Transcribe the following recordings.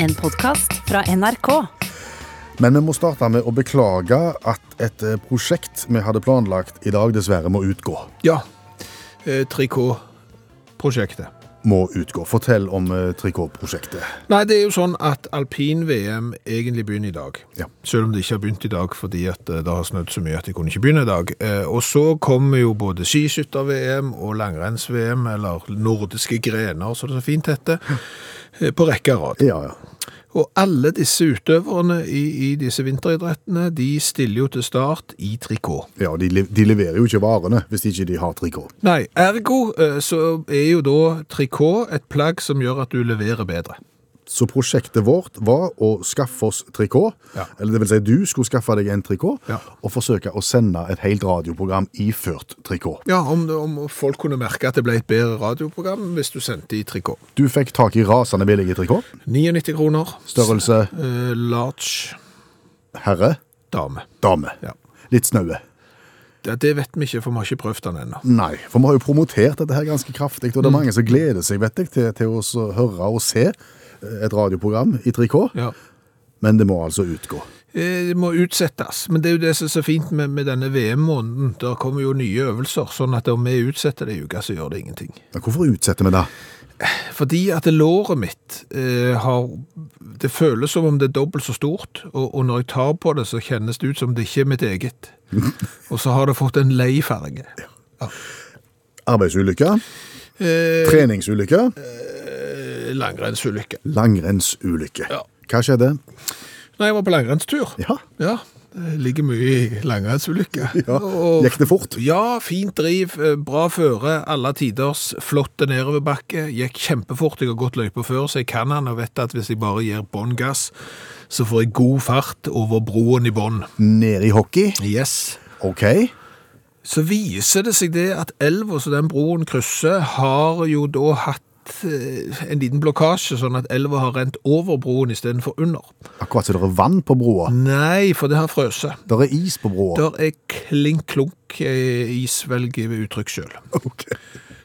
en podkast fra NRK. Men vi må starte med å beklage at et eh, prosjekt vi hadde planlagt i dag, dessverre må utgå. Ja. Eh, 3K-prosjektet. Må utgå. Fortell om eh, trikotprosjektet. Nei, det er jo sånn at alpin-VM egentlig begynner i dag. Ja. Selv om det ikke har begynt i dag fordi at eh, det har snødd så mye at de kunne ikke begynne i dag. Eh, Og så kommer jo både skiskytter-VM og langrenns-VM, eller nordiske grener, som det så fint heter, eh, på rekke og rad. Ja, ja. Og alle disse utøverne i, i disse vinteridrettene, de stiller jo til start i trikot. ja de, le- de leverer jo ikke varene hvis ikke de har trikot. Nei, ergo eh, så er jo da trikot et plagg som gjør at du leverer bedre. Så prosjektet vårt var å skaffe oss trikot. Ja. Eller det vil si, du skulle skaffe deg en trikot, Ja. og forsøke å sende et helt radioprogram iført trikot. Ja, om, om folk kunne merke at det ble et bedre radioprogram hvis du sendte i trikot. Du fikk tak i rasende billige trikot. 99 kroner. Størrelse Eh, large herre, dame. dame. Ja. Litt snaue. Det, det vet vi ikke, for vi har ikke prøvd den ennå. Nei, for vi har jo promotert dette her ganske kraftig, og det er mange som gleder seg vet jeg, til, til å så høre og se eh, et radioprogram i trikot, Ja. men det må altså utgå. Eh, Det må utsettes, men det er jo det som er så fint med, med denne VM-måneden. Der kommer jo nye øvelser, sånn at om vi utsetter det i uka, så gjør det ingenting. Men hvorfor utsette vi det? Fordi at låret mitt eh, har Det føles som om det er dobbelt så stort, og, og når jeg tar på det, så kjennes det ut som det ikke er mitt eget. Og så har det fått en lei farge. Arbeidsulykke, Eh, treningsulykke, eh, langrennsulykke. langrennsulykke. Ja. Hva skjedde? Nei, jeg var på langrennstur. Ja, Ja, det ligger mye i langrennsulykke. ja. Og- gikk det fort? Ja, fint driv, eh, bra føre, alle tiders, flotte nedoverbakke. Gikk kjempefort, jeg har gått løypa før, så jeg kan den og vet at hvis jeg bare gir bånn gass, så får jeg god fart over broen i bånn. Ned i hockey? Yes. Ok. Så viser det seg det at elva som den broen krysser, har jo da hatt eh, en liten blokkasje, sånn at elva har rent over broen istedenfor under. Akkurat så det er vann på broa. Nei, for det har frøset. Det er is på broa. Der er klink klunk eh, isvelg ved uttrykk sjøl. Ok.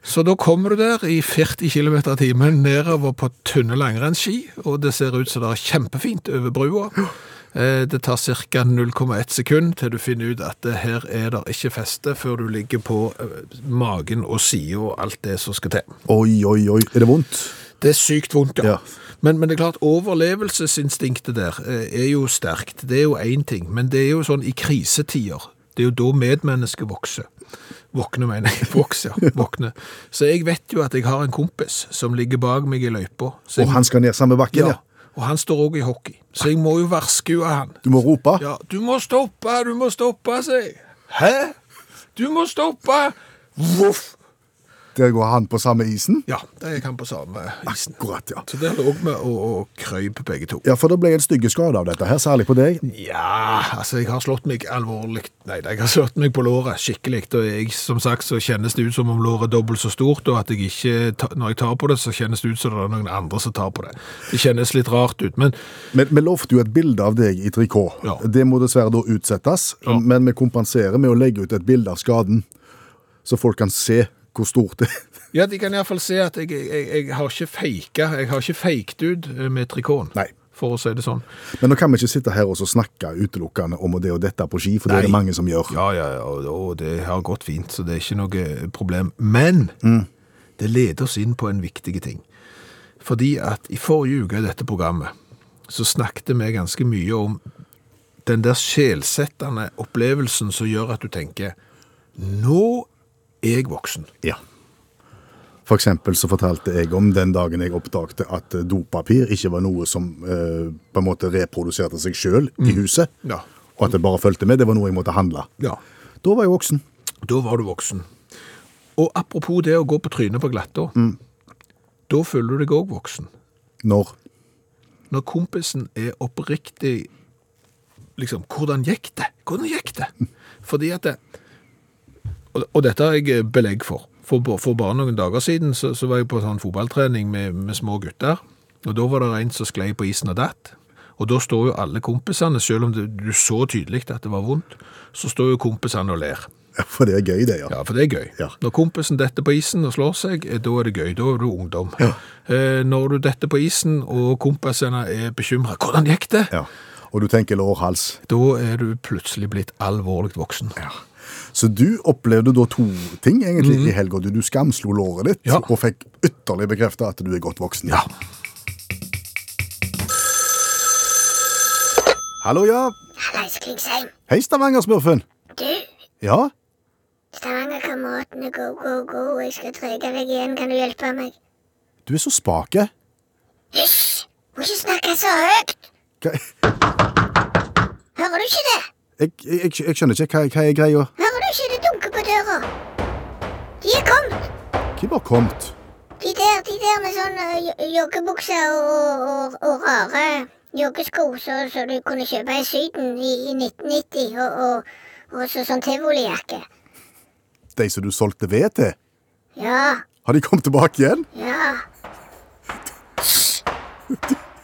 Så da kommer du der i 40 km i timen nedover på tynne langrennsski, og det ser ut som det er kjempefint over brua. Eh, Det tar ca. 0,1 sekund til du finner ut at det her er det ikke feste, før du ligger på eh, magen og sida og alt det som skal til. Oi, oi, oi. Er det vondt? Det er sykt vondt, ja. Ja. Men, men det er klart, overlevelsesinstinktet der eh, er jo sterkt. Det er jo én ting. Men det er jo sånn i krisetider. Det er jo da medmennesket vokser. Våkner, mener jeg. Vokser, ja. Våkner. Så jeg vet jo at jeg har en kompis som ligger bak meg i løypa. Så jeg- Og han skal ned samme bakken, ja. ja, og han står òg i hockey. Så jeg må jo varske jo av han. Du må rope. Ja, du må stoppe, du må stoppe, sier jeg. Hæ? Du må stoppe! Voff! Der går han på samme isen. Ja, det er han på samme isen. Akkurat, ja. Så der lå vi og, og krøyp begge to. Ja, for det ble en stygge skade av dette her, særlig på deg. Ja, altså jeg har slått meg alvorlig Nei, jeg har slått meg på låret skikkelig. Og jeg, som sagt så kjennes det ut som om låret er dobbelt så stort, og at jeg ikke ta- Når jeg tar på det, så kjennes det ut som det er noen andre som tar på det. Det kjennes litt rart ut. Men Men vi lovte jo et bilde av deg i trikot. Ja. Det må dessverre da utsettes, Ja. men vi kompenserer med å legge ut et bilde av skaden, så folk kan se hvor stort det er. ja, de kan iallfall se at jeg, jeg, jeg har ikke faka. Jeg har ikke feiket ut eh, med trikoten, Nei. for å si det sånn. Men nå kan vi ikke sitte her og så snakke utelukkende om det og dette på ski, for det er det Nei. mange som gjør. Ja, ja, ja, og, og det har gått fint, så det er ikke noe eh, problem. Men Mm. det leder oss inn på en viktig ting. Fordi at i forrige uke i dette programmet, så snakket vi ganske mye om den der sjelsettende opplevelsen som gjør at du tenker, nå er jeg voksen. Ja. For eksempel så fortalte jeg om den dagen jeg oppdagte at eh, dopapir ikke var noe som eh, på en måte reproduserte seg sjøl i huset, Mm. Ja. og at det bare fulgte med. Det var noe jeg måtte handle. Ja, Da var jeg voksen. da var du voksen. Og apropos det å gå på trynet på glatta, Mm. da føler du deg også voksen. Når? når kompisen er oppriktig liksom, hvordan gikk det? Hvordan gikk det? Fordi at det, og, og dette har jeg belegg for. For, ba- for bare noen dager siden så, så var jeg på sånn fotballtrening med, med små gutter, og da var det en som sklei på isen og datt. Og da står jo alle kompisene, selv om det, du så tydelig at det var vondt, så står jo kompisene og ler. For det er gøy, det, ja. Ja, for det er gøy. Ja. Når kompisen detter på isen og slår seg, eh, da er det gøy. Da er du ungdom. Eh, Når du detter på isen og kompisene er bekymra 'Hvordan gikk det?' ja. Og du tenker lårhals. Da er du plutselig blitt alvorlig voksen. Så du opplevde da to ting egentlig i helga. Du, du skamslo låret ditt Mhm. Ja. og fikk ytterlig bekrefta at du er godt voksen. Ja. Hallo, ja. Hallais, Klingsheim. Hei, Stavanger-smurfen. Du, Ja? Stavanger-kameratene, go, go, go. Jeg skal trøyke deg igjen. Kan du hjelpe meg? Du er så spake. Hysj! Må ikke snakke så høyt! Hva- Hører du ikke det? Jeg, jeg, jeg, jeg skjønner ikke hva, hva er greia. Hører du ikke det dunker på døra? De er kommet. Hva var kommet? De der, de der med sånn ø, jo- joggebukse og, og, og rare joggesko så- som du kunne kjøpe i Syden i, i 1990, og, og, og så sånn tivolijakke. De som du solgte ved til? Ja, Har de kommet tilbake igjen? ja.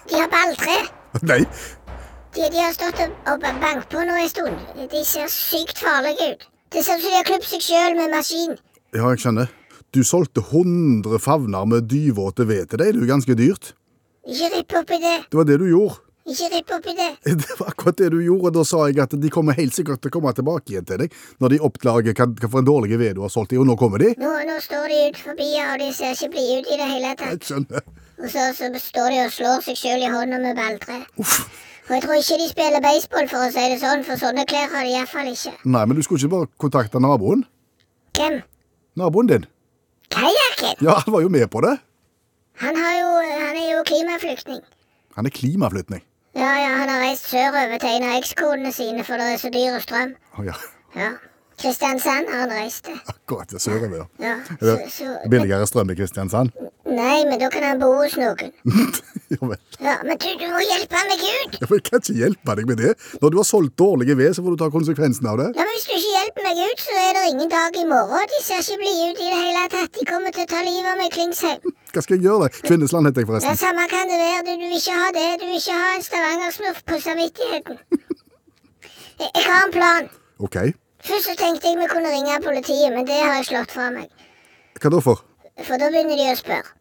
De har balltre. Nei. De, de har stått og, og banket på nå en stund. De ser sykt farlige ut. Det ser ut som de har klippet seg sjøl med maskin. Ja, jeg skjønner. Du solgte 100 favner med dyvåte ved til deg. Det er jo ganske dyrt. Ikke ripp opp i det. Det var det du gjorde. Ikke ripp opp i det. Det var akkurat det du gjorde, og da sa jeg at de kommer helt sikkert til å komme tilbake igjen til deg når de oppdager hva, hva for en dårlig ved du har solgt i, og nå kommer de. Nå, nå står de ut forbi, og de ser ikke blide ut i det hele Jeg tatt. skjønner. Og så, så står de og slår seg sjøl i hånda med balltre. Og jeg tror ikke de spiller baseball, for å si det sånn, for sånne klær har de iallfall ikke. Nei, men du skulle ikke bare kontakte naboen? Hvem? Naboen din? Kajakken! Ja, han var jo med på det. Han, har jo, han er jo klimaflyktning. Han er klimaflytning. Ja, ja, han har reist sørover til en av ekskonene sine, for det er så dyr strøm. Å ja, Ja. Kristiansand har han reist til. akkurat det sørover, ja. Ja, Er det så, så, Billigere strøm i Kristiansand? nei, men da kan han bo hos noen. Ja vel. Ja, Men du, du må hjelpe meg ut! Ja, men Jeg kan ikke hjelpe deg med det. Når du har solgt dårlige ved, så får du ta konsekvensen av det. Ja, men Hvis du ikke hjelper meg ut, så er det ingen dag i morgen. De ser ikke blide ut i det hele tatt. De kommer til å ta livet av meg, Klingsheim. Hva skal jeg gjøre? da? Kvinnesland heter jeg Ja, forresten. Samme kan det være. Du, du vil ikke ha det. Du vil ikke ha en stavangersmurf på samvittigheten. Jeg, jeg har en plan. Ok. Først så tenkte jeg vi kunne ringe politiet, men det har jeg slått fra meg. Hva da for? For da begynner de å spørre.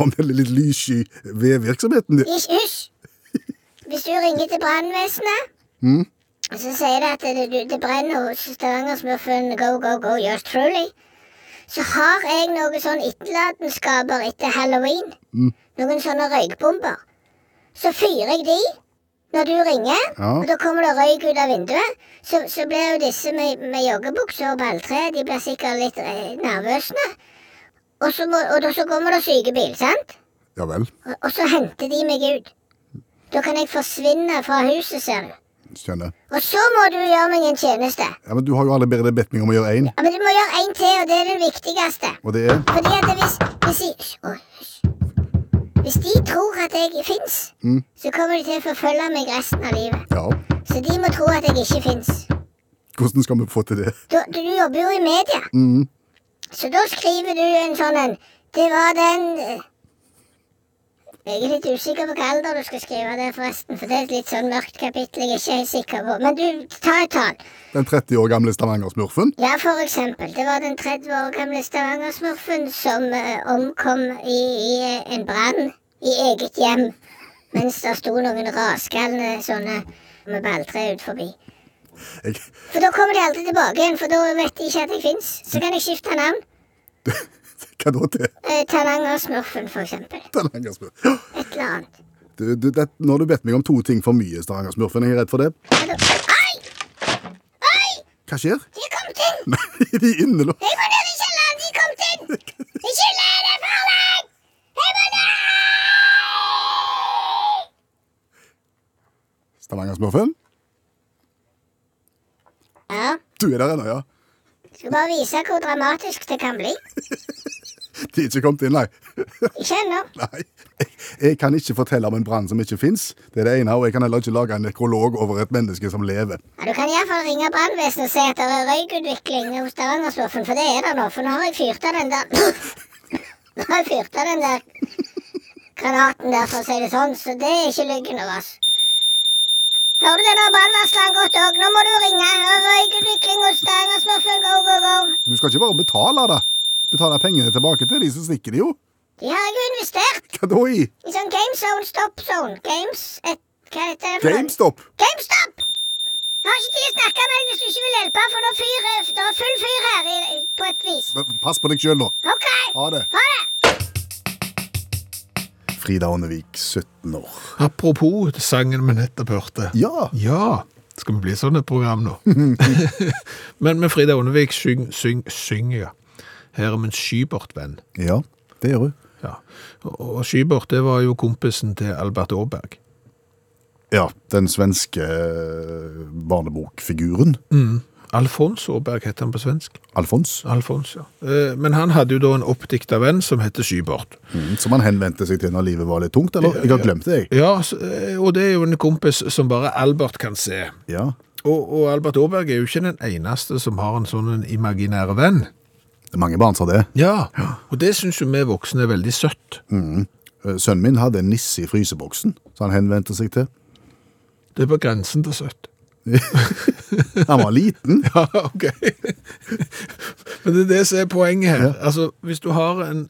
Om den litt lyssky vedvirksomheten din? Ikke hysj! Hvis du ringer til brannvesenet, så sier det at det, det, det brenner hos Stavanger-smurfen Go, go, go, yours truly. Så har jeg noen sånn etterlatenskaper etter halloween. Noen sånne røykbomber. Så fyrer jeg de når du ringer, Ja. og da kommer det røyk ut av vinduet. Så, så blir jo disse med, med joggebukse og balltre de blir sikkert litt eh, nervøse. Og så, må, og da, så kommer det sykebil, sant? Ja vel. Og- Og så henter de meg ut. Da kan jeg forsvinne fra huset, ser du. Skjønner. Og så må du gjøre meg en tjeneste. Ja, men Du har jo allerede bedt meg om å gjøre én, Ja, Men du må gjøre en til, og det er den viktigste. og det er Fordi at hvis Hvis de, Hysj, å, hysj. Hvis de tror at jeg fins, så kommer de til å forfølge meg resten av livet. Ja. Så de må tro at jeg ikke fins. Hvordan skal vi få til det? Du, du du jobber jo i media. Så da skriver du en sånn en Det var den eh, Jeg er litt usikker på hva alder du skal skrive det, forresten. For det er et litt sånn mørkt kapittel jeg er ikke er helt sikker på. Men du, ta et tall. Den 30 år gamle Stavanger-smurfen? Ja, for eksempel. Det var den 30 år gamle Stavanger-smurfen som eh, omkom i, i eh, en brann i eget hjem. Mens det sto noen raskalne sånne med balltre ut forbi. Jeg, For da kommer de aldri tilbake igjen, for da vet de ikke at jeg fins. Så kan jeg skifte navn. hva da til Eh, Talangersmurfen, for eksempel. Stavanger-smurfen? Et eller annet. Du, du, det, nå har du bedt meg om to ting for mye, Stavanger-smurfen. Jeg er redd for det. Men da- Oi! Oi! Hva skjer? De er kommet inn! Nei, de er inne nå. Jeg må ned i kjelleren! De er kommet inn! Ikke la det falle! Jeg må ned! Stavanger-smurfen? Ja, Du er der ennå, ja? skal bare vise hvor dramatisk det kan bli. De er ikke kommet inn, nei. Ikke ennå. nei. Jeg, jeg kan ikke fortelle om en brann som ikke fins. Det er det ene. Og jeg kan heller ikke lage en nekrolog over et menneske som lever. Ja, du kan iallfall ringe brannvesenet og si at det er røykutvikling hos Stavangersloffen, for det er det nå. For nå har jeg fyrt av den der Nå har jeg fyrt av den der granaten der, for å si det sånn, så det er ikke lykken av oss. Hører du det nå, brannvarsleren godt òg? Nå må du ringe. Røykutvikling hos Stavanger-smurfen, go, go, go. Du skal ikke bare betale det. Betale pengene tilbake til de som stikker det, jo. De har jeg jo investert Hva da i? i sånn GameZone, StopZone, Games et, Hva heter det for noe? GameStop. GameStop! Jeg har ikke tid til å snakke med deg hvis du ikke vil hjelpe, for nå fyr, det er full fyr her i, på et vis. Men Pass på deg sjøl, da. OK, Ha det. ha det! Frida Ånnevik, 17 år. Apropos sangen vi nettopp hørte. Ja. Ja, skal vi bli sånn et program nå? Men med Frida Åndevik syng, syng, synger jeg. Her om en Skybert-venn. Ja, det gjør hun. Ja. Og- Og Skybert, det var jo kompisen til Albert Aaberg. Ja, den svenske eh, barnebokfiguren Alfons Aaberg heter han på svensk. Alfons, Alfons, ja. Eh, Men han hadde jo da en oppdikta venn som heter Skybert. mm, som han henvendte seg til når livet var litt tungt, eller? Jeg har glemt det, jeg. Ja, s- eh, og det er jo en kompis som bare Albert kan se. Ja, Og, og Albert Aaberg er jo ikke den eneste som har en sånn en imaginær venn. det er mange barn som har det. Ja, og det syns jo vi voksne er veldig søtt. Eh, Sønnen min hadde en nisse i fryseboksen, så han henvendte seg til. Det er på grensen til søtt. Han var liten. Ja, ok. Men det er det som er poenget her. Altså, hvis du har en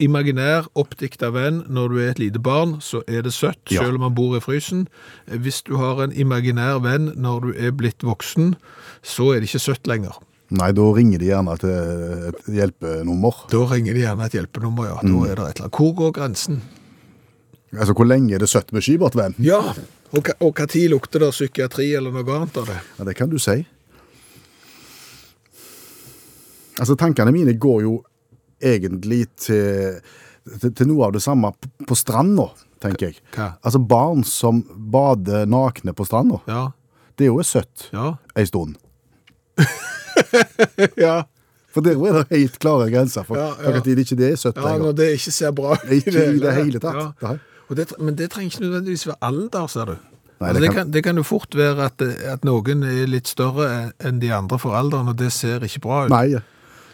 imaginær, oppdikta venn når du er et lite barn, så er det søtt, Ja. selv om han bor i frysen. Eh, Hvis du har en imaginær venn når du er blitt voksen, så er det ikke søtt lenger. Nei, da ringer de gjerne til et hjelpenummer. Da ringer de gjerne et hjelpenummer, ja. Da er det et eller annet. Hvor går grensen? Altså, hvor lenge er det søtt med skybert, venn? Ja, og hva- og hva tid lukter det psykiatri eller noe annet av det? Ja, det kan du si. Altså, tankene mine går jo egentlig til, til, til noe av det samme på, på stranda, tenker jeg. Hva? Altså, barn som bader nakne på stranda, Ja, det er jo søtt ja, ei stund. ja. For der er det helt klare grenser for Ja, ja, ja. ja. tid ikke det er søtt Ja, når lenger. det ikke ser bra ut. Ikke i det hele tatt. Ja. Nei. Og det, men det trenger ikke nødvendigvis være alder, ser du. Nei, altså, det det, kan- kan, det kan jo fort være at, at noen er litt større enn de andre for alderen, og det ser ikke bra ut. Nei,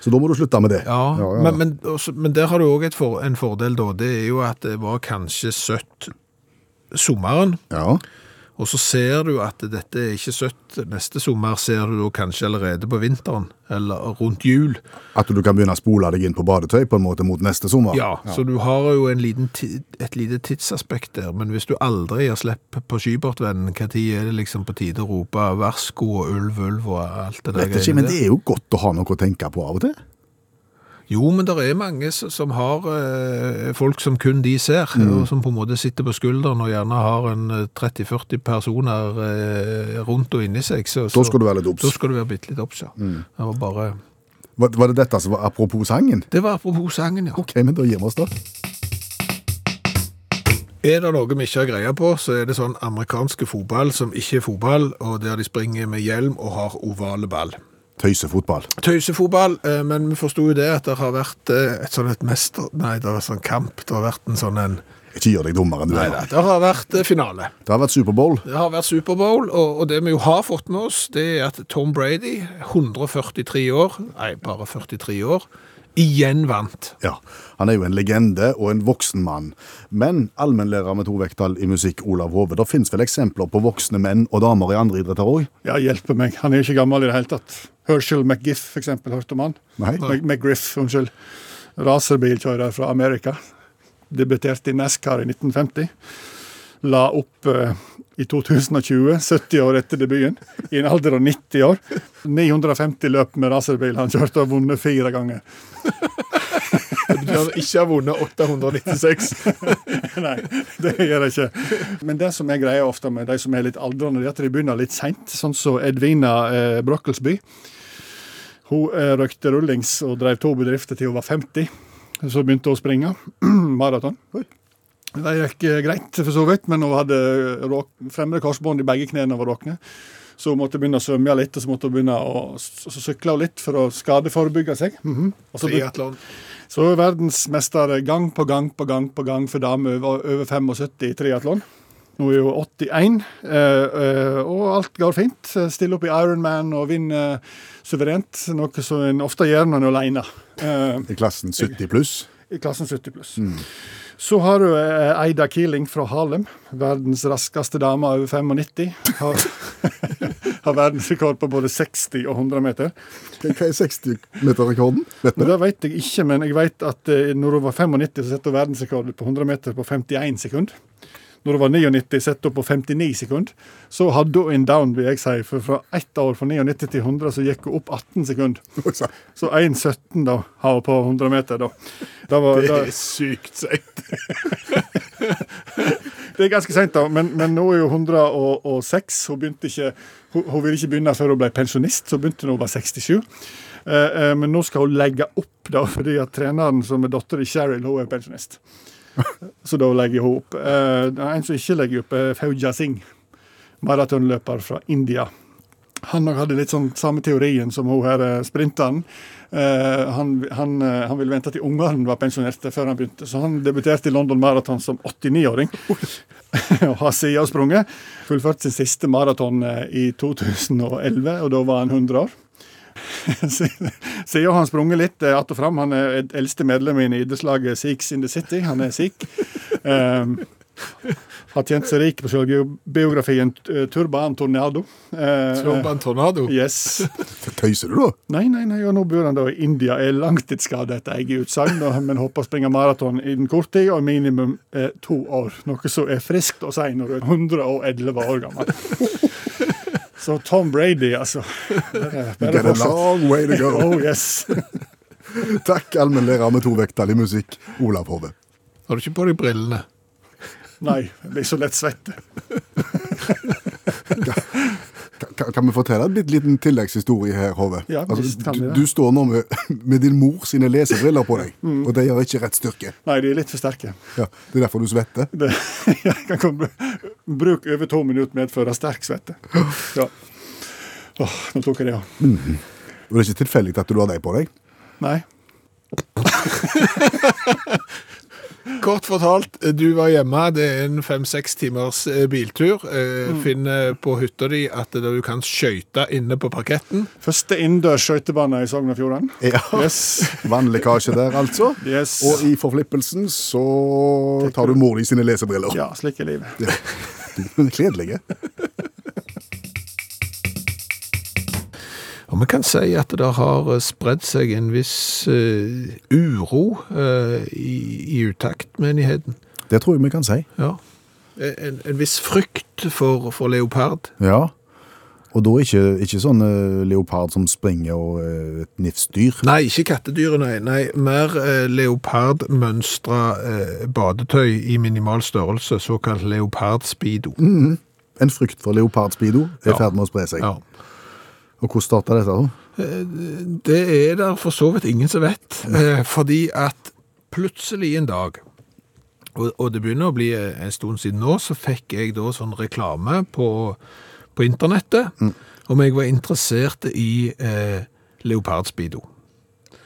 så da må du slutte med det. Ja, ja, ja. Men, men, også, men der har du òg for, en fordel, da. Det er jo at det var kanskje søtt sommeren, Ja. og så ser du at dette er ikke søtt neste sommer, ser du da kanskje allerede på vinteren, eller rundt jul. At du kan begynne å spole deg inn på badetøy på en måte mot neste sommer. Ja, så du har jo en liten ti- et lite tidsaspekt der, men hvis du aldri gir slipp på Skybertvennen, hva tid er det liksom på tide å rope varsko og ulv, ulv og alt det der? Vet ikke, greiene men der? det er jo godt å ha noe å tenke på av og til. Jo, men det er mange s- som har eh, folk som kun de ser, Mm. og som på en måte sitter på skulderen og gjerne har en eh, 30-40 personer eh, rundt og inni seg. Så, Da skal du være litt obs. Mm. Da skal du være bitte litt obs, ja. Det var bare... Var, var det dette som var apropos sangen? Det var apropos sangen, ja. Ok, men da gir vi oss da. Er det noe vi ikke har greie på, så er det sånn amerikanske fotball som ikke er fotball, og der de springer med hjelm og har ovale ball. Tøysefotball. Tøysefotball, eh, men vi forsto jo det at det har vært eh, et sånn et mester... Nei, det har vært sånn kamp, det har vært en sånn en... Ikke gjør deg dummere enn du Nei, er. det det har vært eh, finale. Det har vært Superbowl. Det har vært Superbowl, og, og det vi jo har fått med oss, det er at Tom Brady, 143 år, nei, bare 43 år, igjen vant. Ja, Han er jo en legende og en voksen mann. Men allmennlærer med to vekttall i musikk, Olav Hove, det finnes vel eksempler på voksne menn og damer i andre idretter òg? Ja, hjelpe meg. Han er jo ikke gammel i det hele tatt. Herschel McGiff, for eksempel, hørte om han? Nei. Mc- McGriff, unnskyld. Racerbilkjører fra Amerika. Debuterte i NASCAR i 1950. La opp eh, i 2020, 70 år etter debuten, i en alder av 90 år. 950 løp med racerbil han kjørte og vunnet fire ganger. De har ikke vunnet 896. Nei, det gjør jeg ikke. Men det som er greia ofte med de som er litt aldrende, det er at de begynner litt seint. Sånn som Edvina eh, Brokkelsby. Hun eh, røykte rullings og drev to bedrifter til hun var 50. Så begynte hun å springe maraton. Det gikk eh, greit, for så vidt, men hun hadde råk, fremre korsbånd i begge knærne. og var råkne. Så hun måtte begynne å svømme litt, og så måtte hun begynne å så så sykla hun litt for å skadeforebygge seg. og så begynte, Triathlon. så er hun verdensmester gang på gang på gang på gang for damer over, over 75 i triatlon. Nå er hun 81, eh, eh, og alt går fint. Stiller opp i Ironman og vinner suverent, noe som en ofte gjør når en er alene. Eh, I klassen 70 pluss. I klassen 70 pluss. Så har du eh, Eida Keeling fra Harlem. Verdens raskeste dame over 95. Har, har verdensrekord på både 60 og 100 meter. Hva hva er 60-meterrekorden? Vet Men vi det? Det vet jeg ikke, men jeg vet at eh, når hun var 95, så satte hun verdensrekord på 100 meter på 51 sekunder. Når hun var 99, satte hun på 59 sekunder. Så hadde hun en down, vil jeg si. For fra ett år, fra 99 til 100, så gikk hun opp 18 sekunder. Så 1,17 da, har hun på 100 meter, da. Det, var, det, er sykt seigt. det er ganske seint, da. Men, men nå er hun 106. Hun begynte ikke hun, hun ville ikke begynne før hun ble pensjonist, så begynte hun da hun var 67. Eh, eh, men nå skal hun legge opp, da, fordi at treneren som er datter i Cheryl, hun er pensjonist. Så da legger hun opp. Eh, det er en som ikke legger opp, er Fauja Singh, maratonløper fra India. Han nok hadde litt sånn samme teorien som hun her eh, sprinteren. Eh, han, han, eh, han ville vente til ungene var pensjonerte før han begynte, så han debuterte i London Marathon som 89-åring. og har siden sprunget. Fullførte sin siste maraton eh, i 2011, og da var han 100 år. Siden har han sprunget litt eh, att og fram. Han er et eldste medlem i idrettslaget Sikhs in the City. Han er sikh. Um, har tjent seg rik på selvbiografien eh, Turban Tornado. Eh, Turban Tornado. Yes. Tøyser du, da? Nei, nei, nei, og nå bor han da i India, er langtidsskadet etter eget utsagn, og- men håper å springe maraton innen kort tid og minimum eh, to år. Noe som er friskt å si når du er 111 år gammel. Så Tom Brady, altså. Bare, You got bare a fortsatt. long way to go. Oh yes. Takk, allmennlærer med to vekttall i musikk, Olav Hove. Har du ikke på deg brillene? Nei, jeg blir så lett svett. Kan, kan vi fortelle en bitte liten tilleggshistorie her, Hove? Altså, Ja, visst kan vi du, det. du står nå med, med din mor sine lesebriller på deg, Mm. og de har ikke rett styrke. Nei, de er litt for sterke. Ja, det er derfor du svetter. Det, jeg kan komme, bruk over to minutter medfører sterk svette. Ja. Åh, nå tok jeg det òg. Og det er ikke tilfeldig at du har de på deg. Nei. Kort fortalt, du var hjemme, det er en fem-seks timers eh, biltur. Eh, Finner på hytta di at du kan skøyte inne på parketten. Første innendørs skøytebane i Sogn og Fjordane. Ja. Yes. Vannlekkasje der, altså. Yes. Og i forflippelsen så tar du mor di sine lesebriller. Ja, slik er livet. Kledelige. Og vi kan si at det har eh, spredd seg en viss eh, uro eh, i, i utaktmenigheten. Det tror jeg vi kan si. Ja. Eh, En, en viss frykt for, for leopard. Ja. Og da ikke, ikke sånn eh, leopard som springer og eh, et nifsdyr. Nei, ikke kattedyr, nei. nei mer eh, leopardmønstra eh, badetøy i minimal størrelse, såkalt leopardspeedo. En frykt for leopardspeedo er i Ja. ferd med å spre seg. Ja. Og hvordan starta dette? da? Det er der for så vidt ingen som vet, eh, fordi at plutselig en dag, og, og det begynner å bli eh, en stund siden nå, så fikk jeg da sånn reklame på, på internettet om jeg var interessert i eh, leopardspeedo.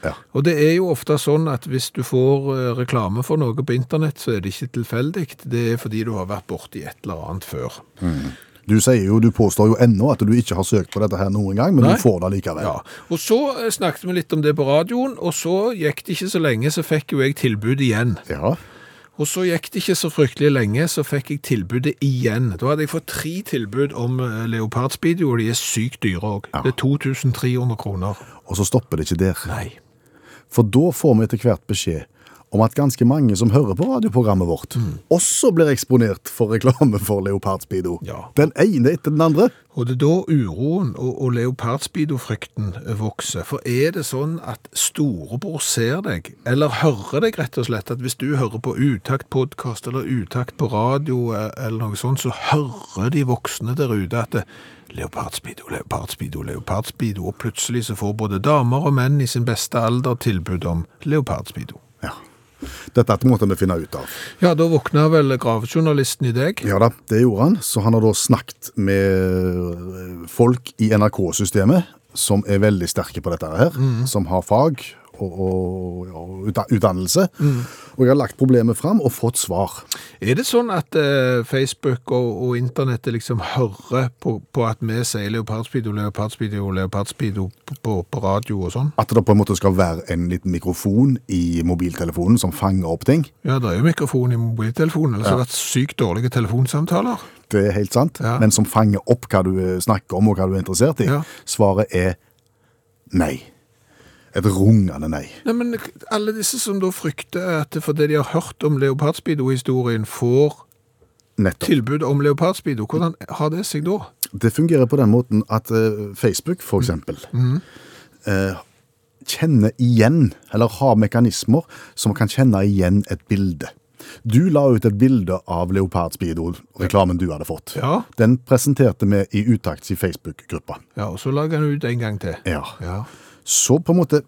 Ja. Og det er jo ofte sånn at hvis du får eh, reklame for noe på internett, så er det ikke tilfeldig. Det er fordi du har vært borti et eller annet før. Du sier jo, du påstår jo ennå at du ikke har søkt på dette her noen gang, men Nei. du får det likevel. Ja. Og så eh, snakket vi litt om det på radioen, og så gikk det ikke så lenge, så fikk jo jeg tilbud igjen. Ja. Og så gikk det ikke så fryktelig lenge, så fikk jeg tilbudet igjen. Da hadde jeg fått tre tilbud om eh, leopardspeedo, og de er sykt dyre òg. Det er 2300 kroner. Og så stopper det ikke der. Nei. For da får vi etter hvert beskjed om at ganske mange som hører på radioprogrammet vårt, Mm. også blir eksponert for reklame for leopardspeedo. Ja. Den ene etter den andre. Og det er da uroen og, og leopardspeedo-frykten vokser. For er det sånn at storebror ser deg, eller hører deg rett og slett, at hvis du hører på Utakt-podkast eller Utakt på radio eh, eller noe sånt, så hører de voksne der ute at det, leopardspeedo, leopardspeedo, leopardspeedo, og plutselig så får både damer og menn i sin beste alder tilbud om leopardspeedo. Ja. Dette måtte vi finne ut av. Ja, da våkna vel gravejournalisten i deg. Ja da, det gjorde han. Så han har da snakket eh, Mhm. med folk i NRK-systemet som er veldig sterke på dette her, som har fag og, og, og utda- utdannelse. Mhm. Og jeg har lagt problemet fram og fått svar. Er det sånn at eh, Facebook og, og internettet liksom hører på, på at vi sier leopardspido, leopardspido, leopardspido på, på, på radio og sånn? At det på en måte skal være en liten mikrofon i mobiltelefonen som fanger opp ting. Ja, det er jo mikrofon i mobiltelefonen, ellers har det vært sykt dårlige telefonsamtaler. Det er helt sant. Ja. Men som fanger opp hva du eh, snakker om og hva du er interessert i. Ja. Svaret er nei. Et rungende nei. Nei, men alle disse som da frykter at fordi de har hørt om leopardspido-historien, får Nettopp. tilbud om leopardspido, hvordan har det seg da? Det fungerer på den måten at eh, Facebook, for eksempel, eh, kjenner igjen, eller har mekanismer som kan kjenne igjen et bilde. Du la ut et bilde av Leopard-speedo-reklamen du hadde fått. Ja. Den presenterte vi i utakts i Facebook-gruppa. Ja, og så lager han ut en gang til. Ja. Ja. Så på en måte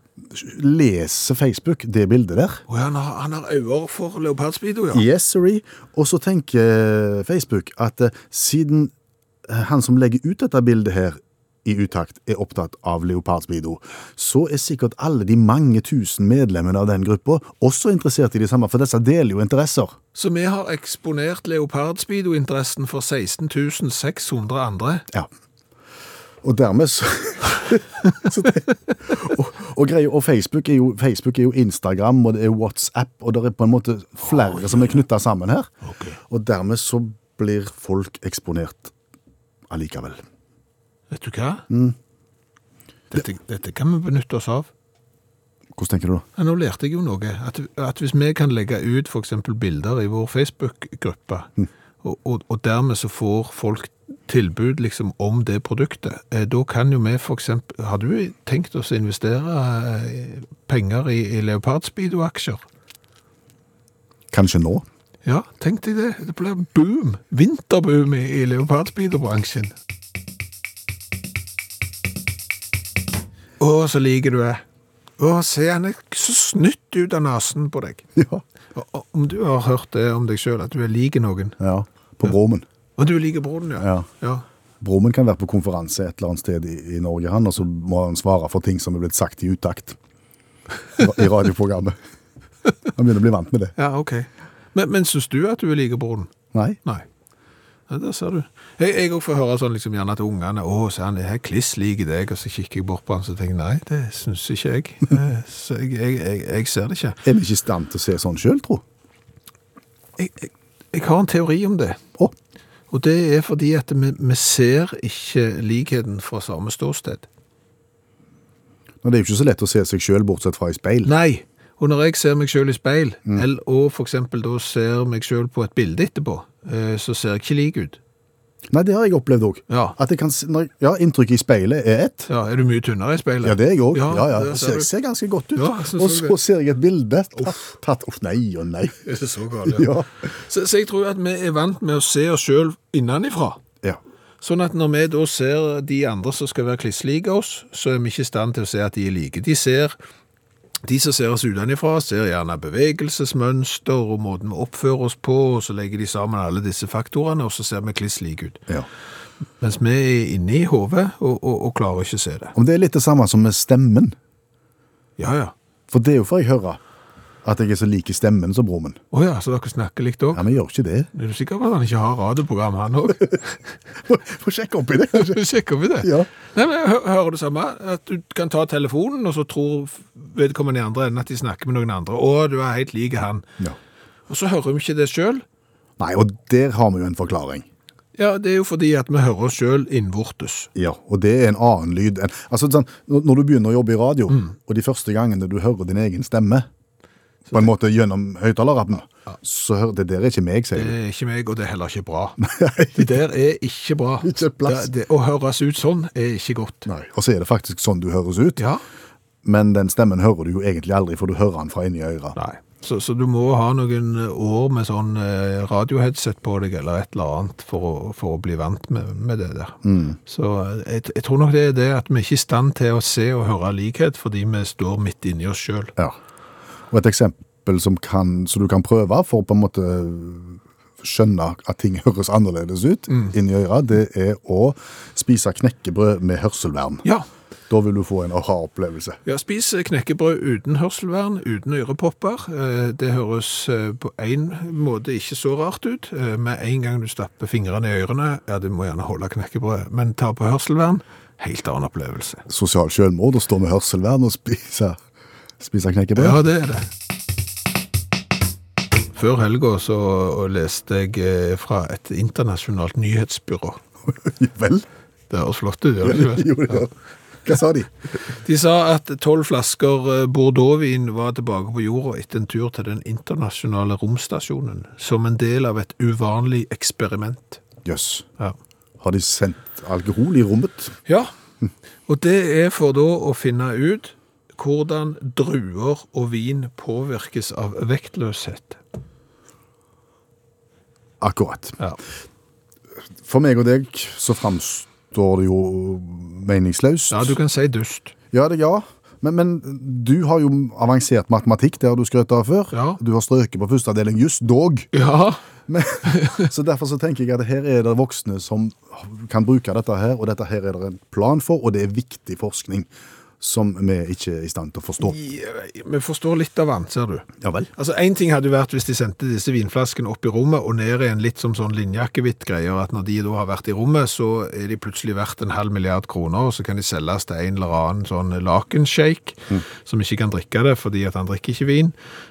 leser Facebook det bildet der, Og han har, han har øyne for leopardspido, ja. Yes, sorry. Og så tenker Facebook at eh, siden eh, han som legger ut dette bildet her i utakt, er opptatt av leopardspeedo, så er sikkert alle de mange tusen medlemmene av den gruppa også interessert i det samme, for disse deler jo interesser. Så vi har eksponert leopardspeedo-interessen for 16 600 andre. Ja. Og dermed så, så det, og, og, greier, og Facebook er, jo, Facebook er jo Instagram, og det er WhatsApp, og det er på en måte flere som er knytta sammen her. Og dermed så blir folk eksponert allikevel. Vet du hva? Dette, dette kan vi benytte oss av. Hvordan tenker du da? Ja, nå lærte jeg jo noe. At, at hvis vi kan legge ut f.eks. bilder i vår Facebook-gruppe, og, og, og dermed så får folk tilbud liksom om det produktet, eh, da kan jo vi f.eks. Har du tenkt oss å investere eh, penger i, i leopardspeedo-aksjer? Kanskje nå? Ja, tenk deg det. Det blir boom. Vinterboom i, i leopardspeedo-bransjen. Å, så liker du det. Å, se, han er så snytt ut av nasen på deg. Ja. Og- og Om du har hørt det om deg sjøl, at du er lik noen ja. På Bromen. Og du liker broren, ja. Ja. Bromen kan være på konferanse et eller annet sted i, i Norge, han, og så må han svare for ting som er blitt sagt i utakt Ra- i radioprogrammet. Han begynner å bli vant med det. Ja, ok. Men, men syns du at du er lik broren? Nei. Nei. Ja, der ser du. Jeg, jeg også får høre sånn liksom gjerne at ungene Å, så han er kliss lik deg, og så kikker jeg bort på han og tenker jeg, nei, det syns ikke jeg. Eh, Så jeg, jeg, jeg, jeg ser det ikke. Er vi ikke i stand til å se sånn sjøl, tro? Jeg, jeg, jeg har en teori om det. Å, Og det er fordi at vi, vi ser ikke likheten fra samme ståsted. men det er jo ikke så lett å se seg sjøl bortsett fra i speil. Nei. Og når jeg ser meg sjøl i speil, Mm. eller, og f.eks. da ser meg sjøl på et bilde etterpå, eh, så ser jeg ikke lik ut. Nei, det har jeg opplevd òg. Ja. At jeg kan se- når- Ja, inntrykket i speilet er ett. Ja, Er du mye tynnere i speilet? Ja, det er jeg òg. Ja, ja. der Jeg ser ser, du. ser ganske godt ut. Ja, jeg synes og også så det. ser jeg et bilde tatt, tatt Uff, nei og nei. Er det så galt, ja. Ja. Så, så jeg tror at vi er vant med å se oss sjøl innenfra. ja. Sånn at når vi da ser de andre som skal være klisslike oss, så er vi ikke i stand til å se at de er like. De ser de som ser oss utenfra, ser gjerne bevegelsesmønster og måten vi oppfører oss på, og så legger de sammen alle disse faktorene, og så ser vi kliss like ut. ja. Mens vi er inne i hodet og, og, og klarer ikke å se det. Om det er litt det samme som med stemmen. Ja, ja. For det er jo for jeg hører at jeg er så lik i stemmen som Brumund. Å ja, så dere snakker likt òg? Ja, men jeg gjør ikke det. Er du sikker på at han ikke har radioprogram, han òg? Få sjekke opp i det. kanskje. Sjekker vi det? Ja. Nei, men jeg hø- Hører det samme? At du kan ta telefonen, og så tror vedkommende i andre enden at de snakker med noen andre. Å, du er helt lik han. Ja. Og så hører vi ikke det sjøl. Nei, og der har vi jo en forklaring. Ja, det er jo fordi at vi hører oss sjøl innvortes. Ja, og det er en annen lyd enn altså, sånn, Når når du begynner å jobbe i radio, og de første gangene du hører din egen stemme på en måte gjennom høyttalerappen, så hører det der er ikke meg, sier Det du. er ikke meg, og det er heller ikke bra. Det der er ikke bra. Ikke plass. Det, det, å høres ut sånn er ikke godt. Nei. Og så er det faktisk sånn du høres ut, Ja, men den stemmen hører du jo egentlig aldri, for du hører den fra inni øret. nei. Så, så du må ha noen år med sånn eh, radioheadset på deg, eller et eller annet, for å, for å bli vant med, med det der. Så eh, jeg, jeg tror nok det er det at vi er ikke i stand til å se og høre likhet, fordi vi står midt inni oss sjøl. Ja. Og et eksempel som, kan, som du kan prøve for å på en måte skjønne at ting høres annerledes ut inni øret, det er å spise knekkebrød med hørselvern. Ja, Da vil du få en aha-opplevelse. Ja, spis eh, knekkebrød uten hørselvern, uten ørepopper. Eh, Det høres eh, på en måte ikke så rart ut. Eh, Med en gang du stapper fingrene i ørene, ja, du må gjerne holde knekkebrød, men ta på hørselvern, helt annen opplevelse. Sosial selvmord å stå med hørselvern og spise, spise knekkebrød. Ja, det er det. Før helga så leste jeg eh, fra et internasjonalt nyhetsbyrå. Vel? Det høres flott ut, gjør det ikke det? Jo, det gjør. Hva sa de? De sa at tolv flasker eh, Bordeaux-vin var tilbake på jorda etter en tur til den internasjonale romstasjonen, som en del av et uvanlig eksperiment. Jøss. Ja. Har de sendt alkohol i rommet? ja. Og det er for da å finne ut hvordan druer og vin påvirkes av vektløshet. Akkurat. Ja. For meg og deg så framstår det jo meningsløst. ja, du kan si dust. Ja, det, ja. Men, men du har jo avansert matematikk, det har du skrøt av før. Ja. Du har strøket på første avdeling juss, dog. Ja, Men, så derfor så tenker jeg at her er det voksne som kan bruke dette her, og dette her er det en plan for, og det er viktig forskning som vi ikke er i stand til å forstå. vi forstår litt av den, ser du. Ja vel. Altså, En ting hadde jo vært hvis de sendte disse vinflaskene opp i rommet og ned igjen, litt som sånn linjakkevitt-greier, at når de da har vært i rommet, så er de plutselig verdt en halv milliard kroner, og så kan de selges til en eller annen sånn lakenshake, Mm. som ikke kan drikke det fordi at han drikker ikke vin,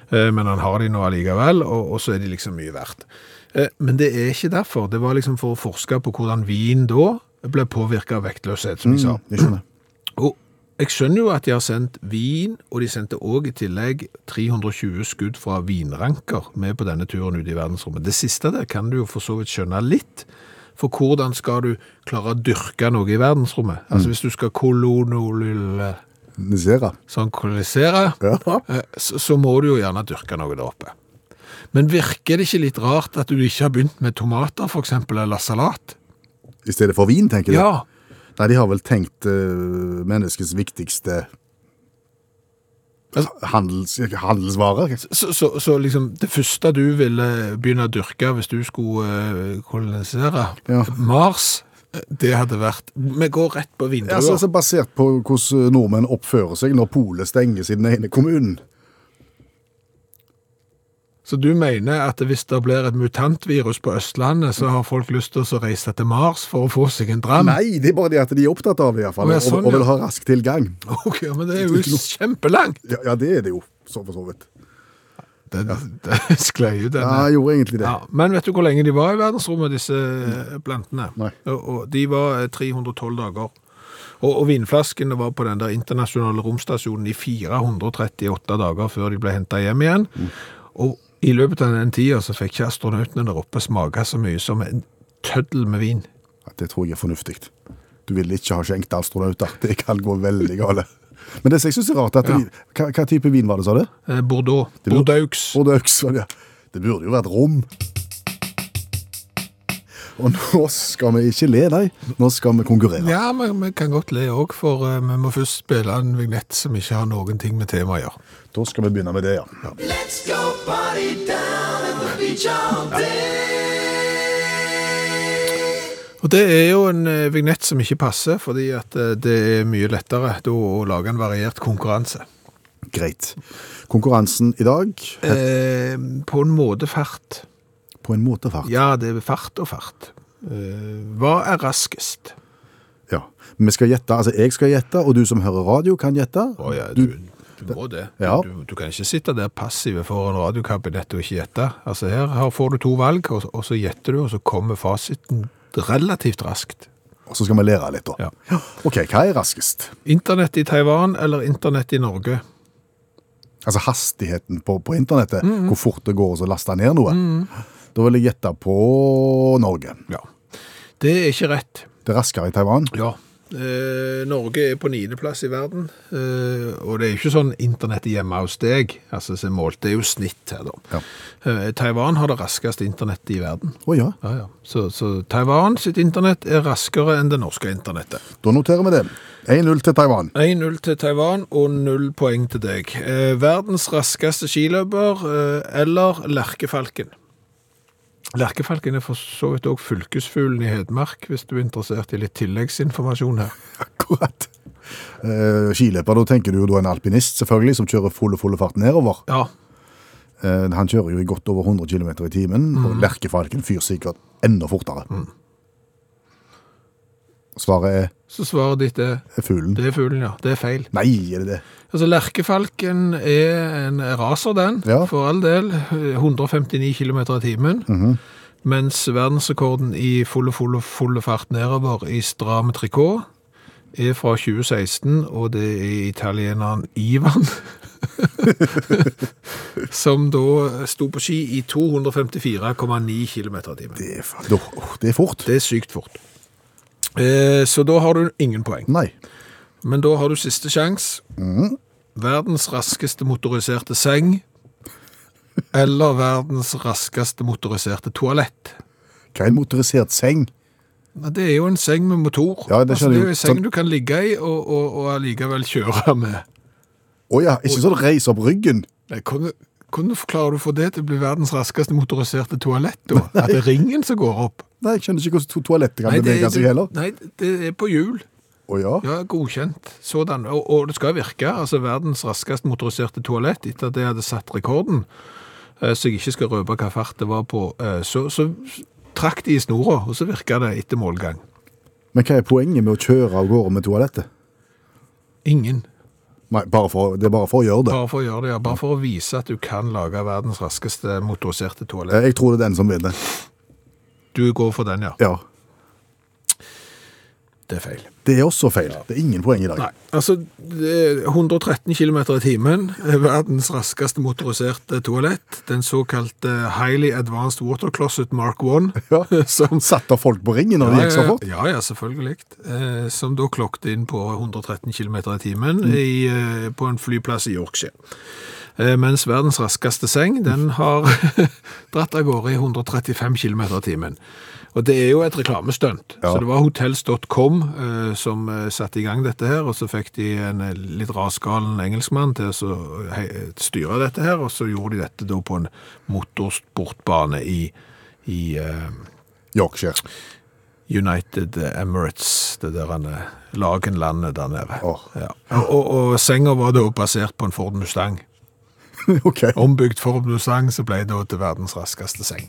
eh, men han har de nå allikevel, og, og så er de liksom mye verdt. Eh, Men det er ikke derfor. Det var liksom for å forske på hvordan vin da ble påvirka av vektløshet, som de sa. Jeg skjønner. Og jeg skjønner jo at de har sendt vin, og de sendte òg i tillegg 320 skudd fra vinranker med på denne turen ut i verdensrommet. Det siste der kan du jo for så vidt skjønne litt. For hvordan skal du klare å dyrke noe i verdensrommet? Altså hvis du skal kolonolyle Nisera. sånn kolonisere, Ja. eh, så, så må du jo gjerne dyrke noe der oppe. Men virker det ikke litt rart at du ikke har begynt med tomater, for eksempel, eller salat? I stedet for vin, tenker du? Ja, Nei, de har vel tenkt eh, menneskets viktigste Altså- handels, handelsvare. Så, så, så liksom det første du ville begynne å dyrke hvis du skulle eh, kolonisere Ja. Mars, eh, det hadde vært Vi går rett på Ja, Altså, vindruer. altså Basert på hvordan nordmenn oppfører seg når polet stenges i den ene kommunen. så du mener at hvis det blir et mutantvirus på Østlandet, så har folk lyst til å reise til Mars for å få seg en dram? Nei, det er bare det at de er opptatt av det, iallfall. Å, ja, fall sånn, og, og vil ja. ha rask tilgang. Ok, men det er jo kjempelangt! Ja, ja, det er det jo, så for så vidt. Den, den sklei jo denne. Ja, jeg gjorde egentlig det. Ja, men vet du hvor lenge de var i verdensrommet, disse eh, plantene? Nei. Og, og de var eh, 312 dager. Og, og vinflaskene var på den der internasjonale romstasjonen i 438 dager før de ble henta hjem igjen. Mm. Og i løpet av den tida så fikk ikke astronautene der oppe smake så mye som en tøddel med vin. Ja, det tror jeg er fornuftig. Du vil ikke ha skjenkt astronauter. Det kan gå veldig gale. Men det som jeg syns er rart, at de, hva, hva type vin var det, sa du? Eh, Bordeaux. Det burde- Bordeaux. Og det, er også- ja. det burde jo vært rom. Og nå skal vi ikke le, nei. Nå skal vi konkurrere. Ja, men vi kan godt le òg, for eh, vi må først spille en vignett som ikke har noen ting med temaet å gjøre. Da skal vi begynne med det, ja. Og det er jo en eh, vignett som ikke passer, fordi at eh, det er mye lettere da å lage en variert konkurranse. Greit. Konkurransen i dag, Eh, på en måte fart. på en måte fart. Ja, det er fart og fart. Eh, hva er raskest? Ja. Vi skal gjette, altså jeg skal gjette, og du som hører radio kan gjette. må det. Ja. Du, du kan ikke sitte der passive foran radiokabinettet og ikke gjette. Altså her, her får du to valg, og, og så gjetter du, og så kommer fasiten relativt raskt. Og så skal vi lære litt da. Ja. Ok, hva er raskest? Internett i Taiwan eller internett i Norge? Altså hastigheten på, på internettet, hvor fort det går å laste ned noe. Da vil jeg gjette på Norge. Ja. Det er ikke rett. Det er raskere i Taiwan. Ja. Eh, Norge er på niendeplass i verden, eh, og det er jo ikke sånn internett er hjemme hos deg. Altså, så er målt, det er jo snitt her, da. Ja. Eh, Taiwan har det raskeste internettet i verden. Å ja, Ja, ja. Så, så Taiwan sitt internett er raskere enn det norske internettet. da noterer vi det. 1-0 til Taiwan. 1-0 til Taiwan og 0 poeng til deg. Eh, verdens raskeste skiløper eh, eller Lerkefalken? Lerkefalken er for så vidt òg fylkesfuglen i Hedmark, hvis du er interessert i litt tilleggsinformasjon her. Akkurat. Eh, skiløper, da tenker du jo da en alpinist, selvfølgelig, som kjører full og full fart nedover. Ja. Eh, han kjører jo i godt over 100 km i timen, og lerkefalken fyr sikkert enda fortere. Svaret er, Så svaret ditt er er fuglen. Det er fuglen, ja. Det er feil. Nei, er det det? Altså, Lerkefalken er en raser, den, Ja. for all del. 159 km i timen. Mens verdensrekorden i fulle, fulle, fulle fart nedover i stram trikot er fra 2016, og det er italieneren Ivan. som da sto på ski i 254,9 km i timen. Det er, fa- da- åh, det er fort. Det er sykt fort. Eh, så da har du ingen poeng. Nei. Men da har du siste sjans. Verdens raskeste motoriserte seng. Eller verdens raskeste motoriserte toalett. Hva er en motorisert seng? Nei, Det er jo en seng med motor. Ja, det skjønner altså, det er jeg. jo en seng Sånn- du kan ligge i og, og, og allikevel kjøre med. Å ja, ikke sånn reis opp ryggen. Nei, Hvordan hvordan forklarer du for det til å bli verdens raskeste motoriserte toalett? da? At det er ringen som går opp? Nei, jeg skjønner ikke hvordan to toaletter kan det, bevege seg heller. nei, det er på hjul. Å ja. Ja, godkjent. Sådan. Og, og det skal virke. Altså verdens raskest motoriserte toalett etter at jeg hadde satt rekorden, eh, så jeg ikke skal røpe hva fart det var på, eh, så, så trakk de i snora, og så virka det etter målgang. Men hva er poenget med å kjøre av gårde med toalettet? Ingen. Nei, bare for, det er bare for å gjøre det. Bare for å gjøre det, ja. Bare for å vise at du kan lage verdens raskeste motoriserte toalett. Eh, Jeg tror det er den som vinner. Du går for den, ja. Ja. Det er feil. Det er også feil. Det er ingen poeng i dag. Nei, altså det er 113 km i timen, eh, verdens raskeste motoriserte toalett, den såkalte Highly Advanced Water Closet Mark 1, Ja. som Satt av folk på ringen når det gikk så fort? Ja, ja, selvfølgelig. Eh, som da klokte inn på 113 km i timen Mm. i, eh, på en flyplass i Yorkshire. Eh, mens verdens raskeste seng, den har dratt av gårde i 135 km i timen. Og det er jo et reklamestunt. Ja. Så det var hotels.com eh, som eh, satte i gang dette her, og så fikk de en eh, litt rasgalen engelskmann til å så, eh, hei- styre dette her, og så gjorde de dette da på en motorsportbane i, i eh, Yorkshire. United Emirates, det der han er- Lagenlandet der nede. Åh. Ja. Og, og, og senga var da basert på en Ford Mustang. OK. Ombygd Ford Mustang, så ble det da til verdens raskeste seng.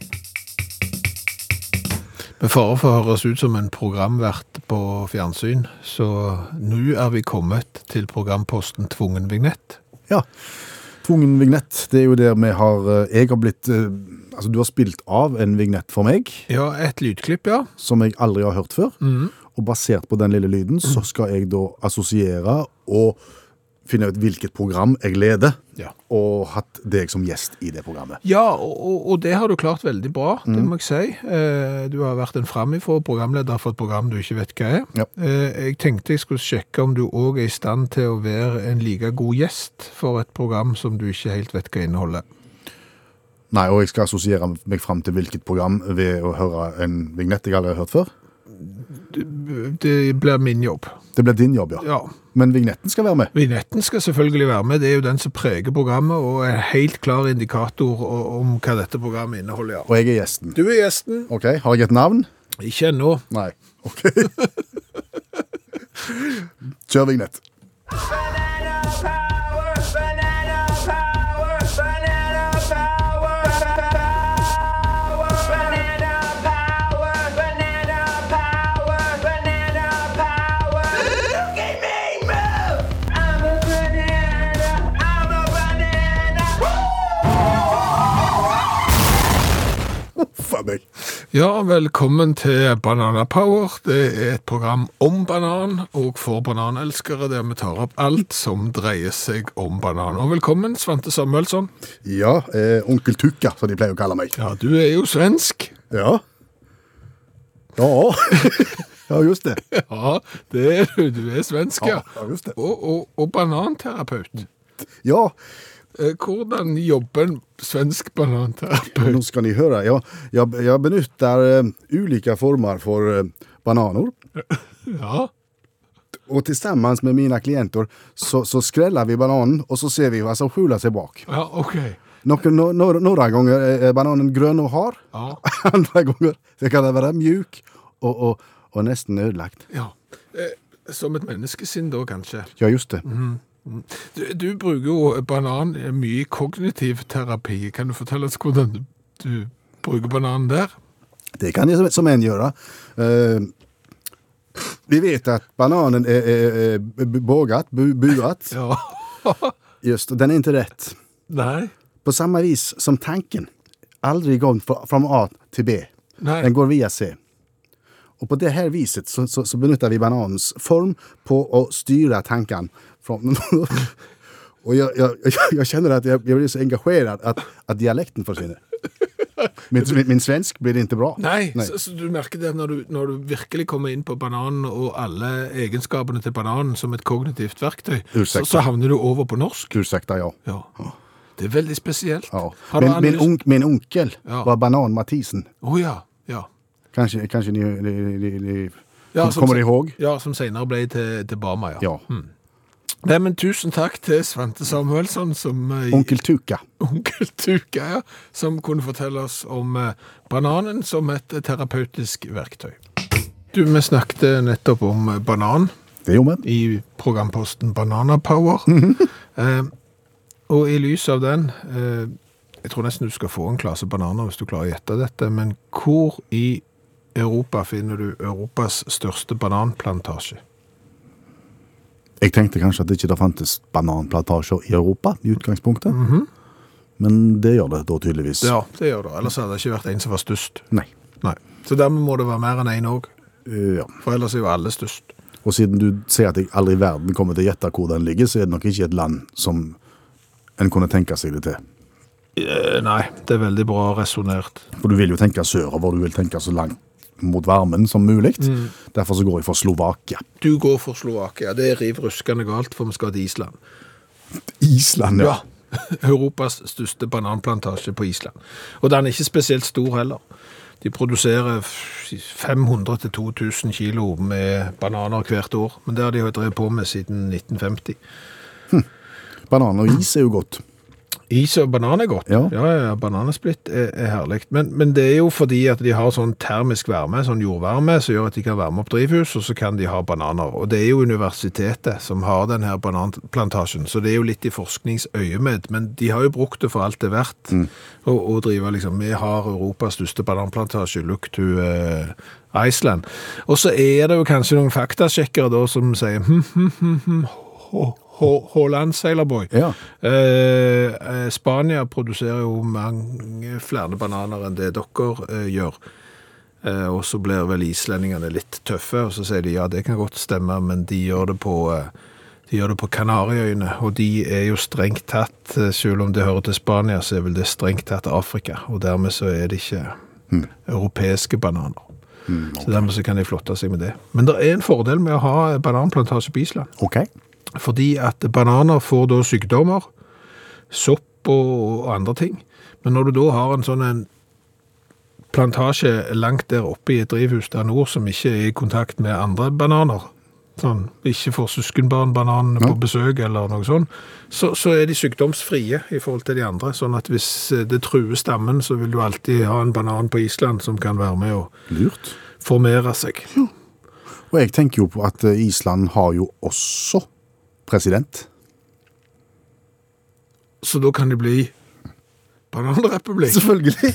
Med fare for å høres ut som en programvert på fjernsyn, så nå er vi kommet til programposten Tvungen vignett. Ja. Tvungen vignett, det er jo der vi har eh, Jeg har blitt eh, Altså, du har spilt av en vignett for meg Ja, et lydklipp, ja. som jeg aldri har hørt før. Mm. Og basert på den lille lyden så skal jeg da assosiere og finne ut hvilket program jeg leder, Ja. og hatt deg som gjest i det programmet. Ja, og, og- og det har du klart veldig bra, det må jeg si. Eh, Du har vært en framifrå programleder for et program du ikke vet hva er. Ja. Eh, Jeg tenkte jeg skulle sjekke om du òg er i stand til å være en like god gjest for et program som du ikke helt vet hva inneholder. Nei, og jeg skal assosiere meg fram til hvilket program ved å høre en vignett jeg aldri har hørt før. Det blir min jobb. Det blir din jobb, ja. Ja. Men vignetten skal være med. Vignetten skal selvfølgelig være med, det er jo den som preger programmet og er en helt klar indikator o- om hva dette programmet inneholder. ja. Og jeg er gjesten. Du er gjesten. OK, har jeg et navn? Ikke ennå. Nei. OK. Kjør vignett. Banana power, banana power, banana power, power, banana power, banana power, banana power. Look at me move! I'm a banana, I'm a banana. Faen meg. Ja, velkommen til Banana Power. Det er et program om banan og for bananelskere, der vi tar opp alt som dreier seg om banan. Og velkommen, Svante Samuelsson. Ja, eh, onkel Tukka, som de pleier å kalle meg. Ja, du er jo svensk. Ja. Ja, ja just det. Ja, det er du. Du er svensk, ja. Ja, ja, just det. Og, og, og bananterapeut. Ja, Eh, Hvordan jobber en svensk nå bananterapeut? skal ni høre. Jeg, jeg, jeg benytter eh, ulike former for eh, bananer. Ja, Og sammen med mine klienter så, så skreller vi bananen, og så ser vi hva som skjuler seg bak. ja ok. Noen, no, no, noen ganger er eh, bananen grønn og hard. Ja, Andre ganger så kan den være mjuk og, og, og nesten ødelagt. ja. Eh, Som et menneskesinn da, kanskje. Ja, just det. Du, du bruker jo banan eh, mye i kognitiv terapi. Kan du fortelle oss hvordan du bruker bananen der? Det kan jeg som- som en gjøre. Eh, vi vet at bananen er, er, er bu- bågat, bu, buat. Ja. Just, den er ikke rett. Nei. På samme vis som tanken. Aldri går fra, fra A til B. Nei. Den går via C. Og på det her viset så, så, så benytter vi bananens form på å styre tankene. Fra, og jeg, jeg, jeg, jeg kjenner at jeg, jeg blir så engasjert at, at dialekten forsvinner. Min, min, min svensk blir ikke bra. Nei, Så, så du merker det når du, når du virkelig kommer inn på bananen og alle egenskapene til bananen som et kognitivt verktøy, så, Ursäkta. så havner du over på norsk. Ursäkta, ja. Ja. Det er veldig spesielt. ja. Har du Min, min, analys- onk, min onkel Ja. var Banan-Mathisen. Å ja. ja. Kanskje, kanskje ni, ni, ni, ni ja som Hmm. kommer se- ihåg? Ja, som senere ble til, til Bama, ja. Ja. Nei, men tusen takk til Svante Samuelsson, som eh, Onkel Tuka. onkel Tuka, ja, som kunne fortelle oss om eh, bananen som et terapeutisk verktøy. Du, vi snakket nettopp om eh, banan Det gjorde vi. i programposten Banana Power. eh, og i lys av den, eh, jeg tror nesten du skal få en klase bananer hvis du klarer å gjette dette, men hvor i Europa finner du Europas største bananplantasje? Jeg tenkte kanskje at det ikke da fantes bananplantasjer i Europa i utgangspunktet. Men det gjør det da tydeligvis. Mhm. Ja, det gjør det. Ellers hadde det ikke vært en som var størst. Nei. Nei. Så dermed må det være mer enn én òg, Eh, ja. for ellers er jo alle størst. Og siden du sier at jeg aldri i verden kommer til å gjette hvor den ligger, så er det nok ikke et land som en kunne tenke seg det til. Eh, Nei, det er veldig bra resonnert. For du vil jo tenke sørover, du vil tenke så langt mot varmen som mulig. Mm. Derfor så går jeg for Slovakia. Du går for Slovakia. Det er riv ruskende galt, for vi skal til Island. Island, ja. Europas største bananplantasje på Island. Og den er ikke spesielt stor heller. De produserer f- 500-2000 kilo med bananer hvert år, men det har de jo drevet på med siden 1950. Banan og is er jo godt. Is og banan er godt. Ja. ja, ja, Bananasplitt er, er herlig. Men, men det er jo fordi at de har sånn termisk varme, sånn jordvarme, som gjør at de kan varme opp drivhus, og så kan de ha bananer. Og det er jo universitetet som har den her bananplantasjen, så det er jo litt i forskningsøyemed. Men de har jo brukt det for alt det er verdt, og, og driver liksom Vi har Europas største bananplantasje, look to eh, Iceland. Og så er det jo kanskje noen faktasjekkere da som sier hm, hm, hm, hm, Hå- Hå- Haaland, Sailorboy. Ja. Eh, eh, Spania produserer jo mange flere bananer enn det dere eh, gjør. Eh, og så blir vel islendingene litt tøffe, og så sier de ja, det kan godt stemme, men de gjør det på eh, de gjør det på Kanariøyene, og de er jo strengt tatt, eh, selv om det hører til Spania, så er vel det strengt tatt Afrika, og dermed så er det ikke europeiske bananer. Så dermed så kan de flotte seg med det. Men det er en fordel med å ha bananplantasje på Island. Ok. Fordi at bananer får da sykdommer, sopp og, og andre ting. Men når du da har en sånn en plantasje langt der oppe i et drivhus der nord som ikke er i kontakt med andre bananer, sånn, ikke får søskenbarnbananene på besøk eller noe sånt, så, så er de sykdomsfrie i forhold til de andre. Sånn at hvis det truer stammen, så vil du alltid ha en banan på Island som kan være med å Lurt. formere seg. Og jeg tenker jo på at eh, Island har jo også president. Så da kan det bli bananrepublikk. Selvfølgelig.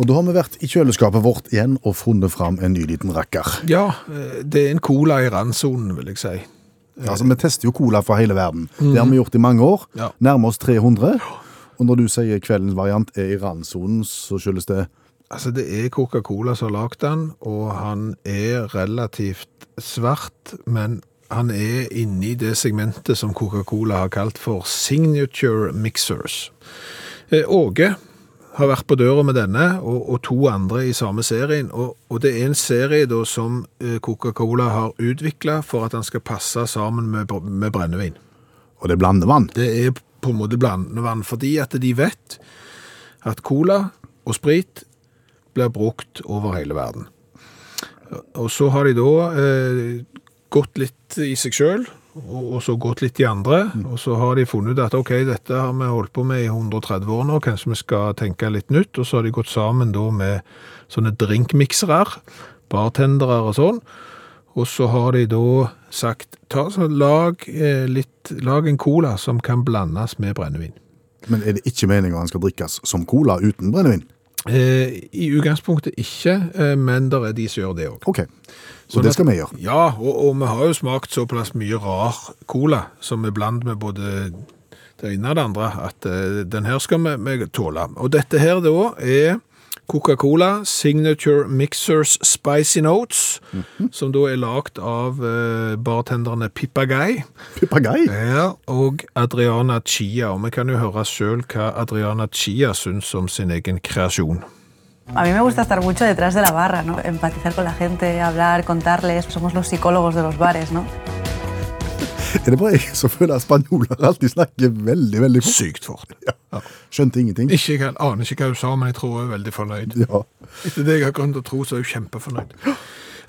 Og da har vi vært i kjøleskapet vårt igjen og funnet fram en ny liten rakker. Ja, eh, det er en cola i randsonen, vil jeg si. Altså, Vi tester jo cola fra hele verden. Det har vi gjort i mange år. Ja. Nærmer oss 300. Og når du sier kveldens variant er i randsonen, så skyldes det Altså, det er Coca-Cola som har lagd den, og han er relativt svart, men han er inne i det segmentet som Coca-Cola har kalt for signature mixers. Eh, Åge har vært på døra med denne, og, og to andre i samme serien, og, og det er en serie da som eh, Coca-Cola har utviklet for at han skal passe sammen med, br- med brennevin. Og det er blandevann. Det er på en måte blandevann, fordi at de vet at cola og sprit blir brukt over hele verden. Og så har de da eh, gått litt i seg sjøl, og, og så gått litt i andre. Og så har de funnet ut at ok, dette har vi holdt på med i 130 år nå, kanskje vi skal tenke litt nytt. Og så har de gått sammen da med sånne drinkmiksere, bartendere og sånn. Og så har de da sagt ta så lag, eh, litt, lag en cola som kan blandes med brennevin. Men er det ikke meningen at den skal drikkes som cola uten brennevin? Eh, I utgangspunktet ikke, eh, men det er de som gjør det òg. OK. Så det skal vi gjøre. Ja, og, og vi har jo smakt såpass mye rar cola som er blandet med både det ene og det andre, at eh, den her skal vi, vi tåle. Og dette her da er Coca-Cola Signature Mixers Spicy Notes, som da er lagd av eh, bartenderne Pippa Guy Papagai? ja, og Adriana Chia. Og vi kan jo høre sjøl hva Adriana Chia syns om sin egen kreasjon. A mí me gusta estar mucho detrás de la barra, ¿no? Empatizar con la gente, hablar, contarles. Somos los psicólogos de los bares, ¿no? Er det bare jeg som føler at spanjoler alltid snakker veldig, veldig fort? Sykt fort. Skjønte ingenting. Ikke, jeg aner ikke hva hun sa, men jeg tror hun er veldig fornøyd. Ja. Etter det jeg har grunn til å tro, så er hun kjempefornøyd.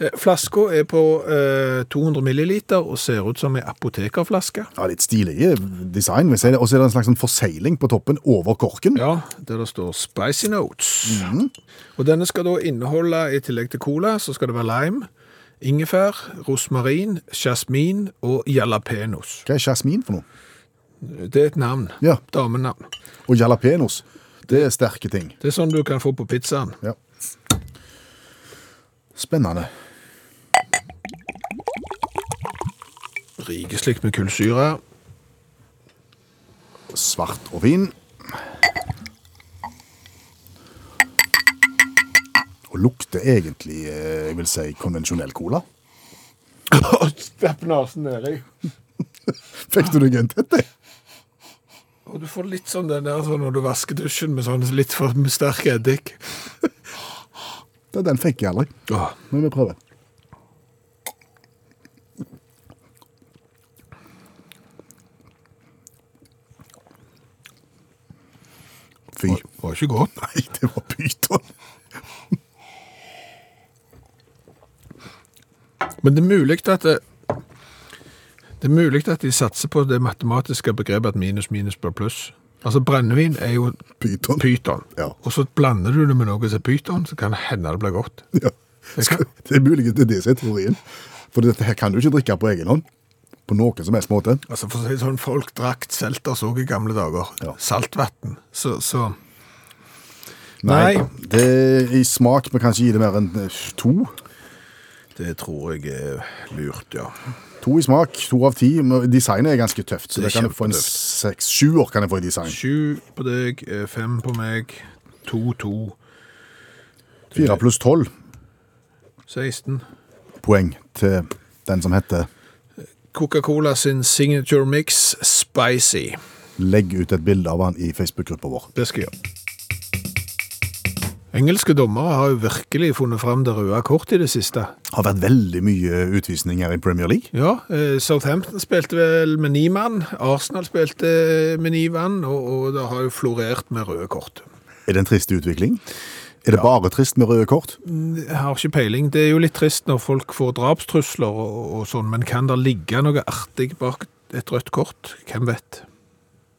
Eh, Flaska er på eh, 200 milliliter og ser ut som en apotekerflaske. Ja, litt stilig eh, design, vil jeg si det. Og så er det en slags sånn forsegling på toppen over korken. Ja, der det står Spicy Notes. Og denne skal da inneholde, i tillegg til cola, så skal det være lime, ingefær, rosmarin, jasmin og jalapenos. Hva er jasmin for noe? Det er et navn. Ja. Damenavn. Og jalapenos. Det er sterke ting. Det er sånn du kan få på pizzaen. Ja. Spennende. Rikeslikt med kullsyre. Svart og vin. Og lukter egentlig, eh, jeg vil si, konvensjonell cola. Stapp nesen nedi. Fikk du deg en tett, det? Og du får litt sånn den der sånn når du vasker dusjen med sånn litt for sterk eddik. Ja, Den fikk jeg aldri. Åh. Nå må vi prøve. Fy. var ikke godt. Nei, det var pyton. Men det er mulig at det, det er mulig at de satser på det matematiske begrepet at minus minus blir pluss. Altså brennevin er jo Pyton. pyton. Ja. Og så blander du det med noe som er pyton, så kan det hende det blir godt. Ja. Skal- Det er muligens det er det som er teorien. For dette her kan du ikke drikke på egen hånd. På noen som helst måte. Altså for å si det sånn, folk drakk selters òg i gamle dager. Ja. Saltvann. Så, så Nei. Det I smak vi kan ikke gi det mer enn eh, to. Det tror jeg er lurt, ja. To i smak, to av ti. Men Designet er ganske tøft. Så Det er det kan du få en kjempetøft. seks, sju år kan jeg få i design. Sju på deg, eh, fem på meg, to, to, Fire pluss tolv 16. poeng til den som heter Coca-Cola sin signature mix, spicy. Legg ut et bilde av han i Facebook-gruppa vår. Det skal jeg gjøre. Engelske dommere har jo virkelig funnet fram det røde kort i det siste. Har vært veldig mye utvisninger i Premier League. Ja, eh, Southampton spilte vel med ni mann, Arsenal spilte med ni mann, og, og det har jo florert med røde kort. Er det en trist utvikling? Er det bare trist med røde kort? Jeg har ikke peiling. Det er jo litt trist når folk får drapstrusler og, og sånn, men kan det ligge noe artig bak et rødt kort? Hvem vet?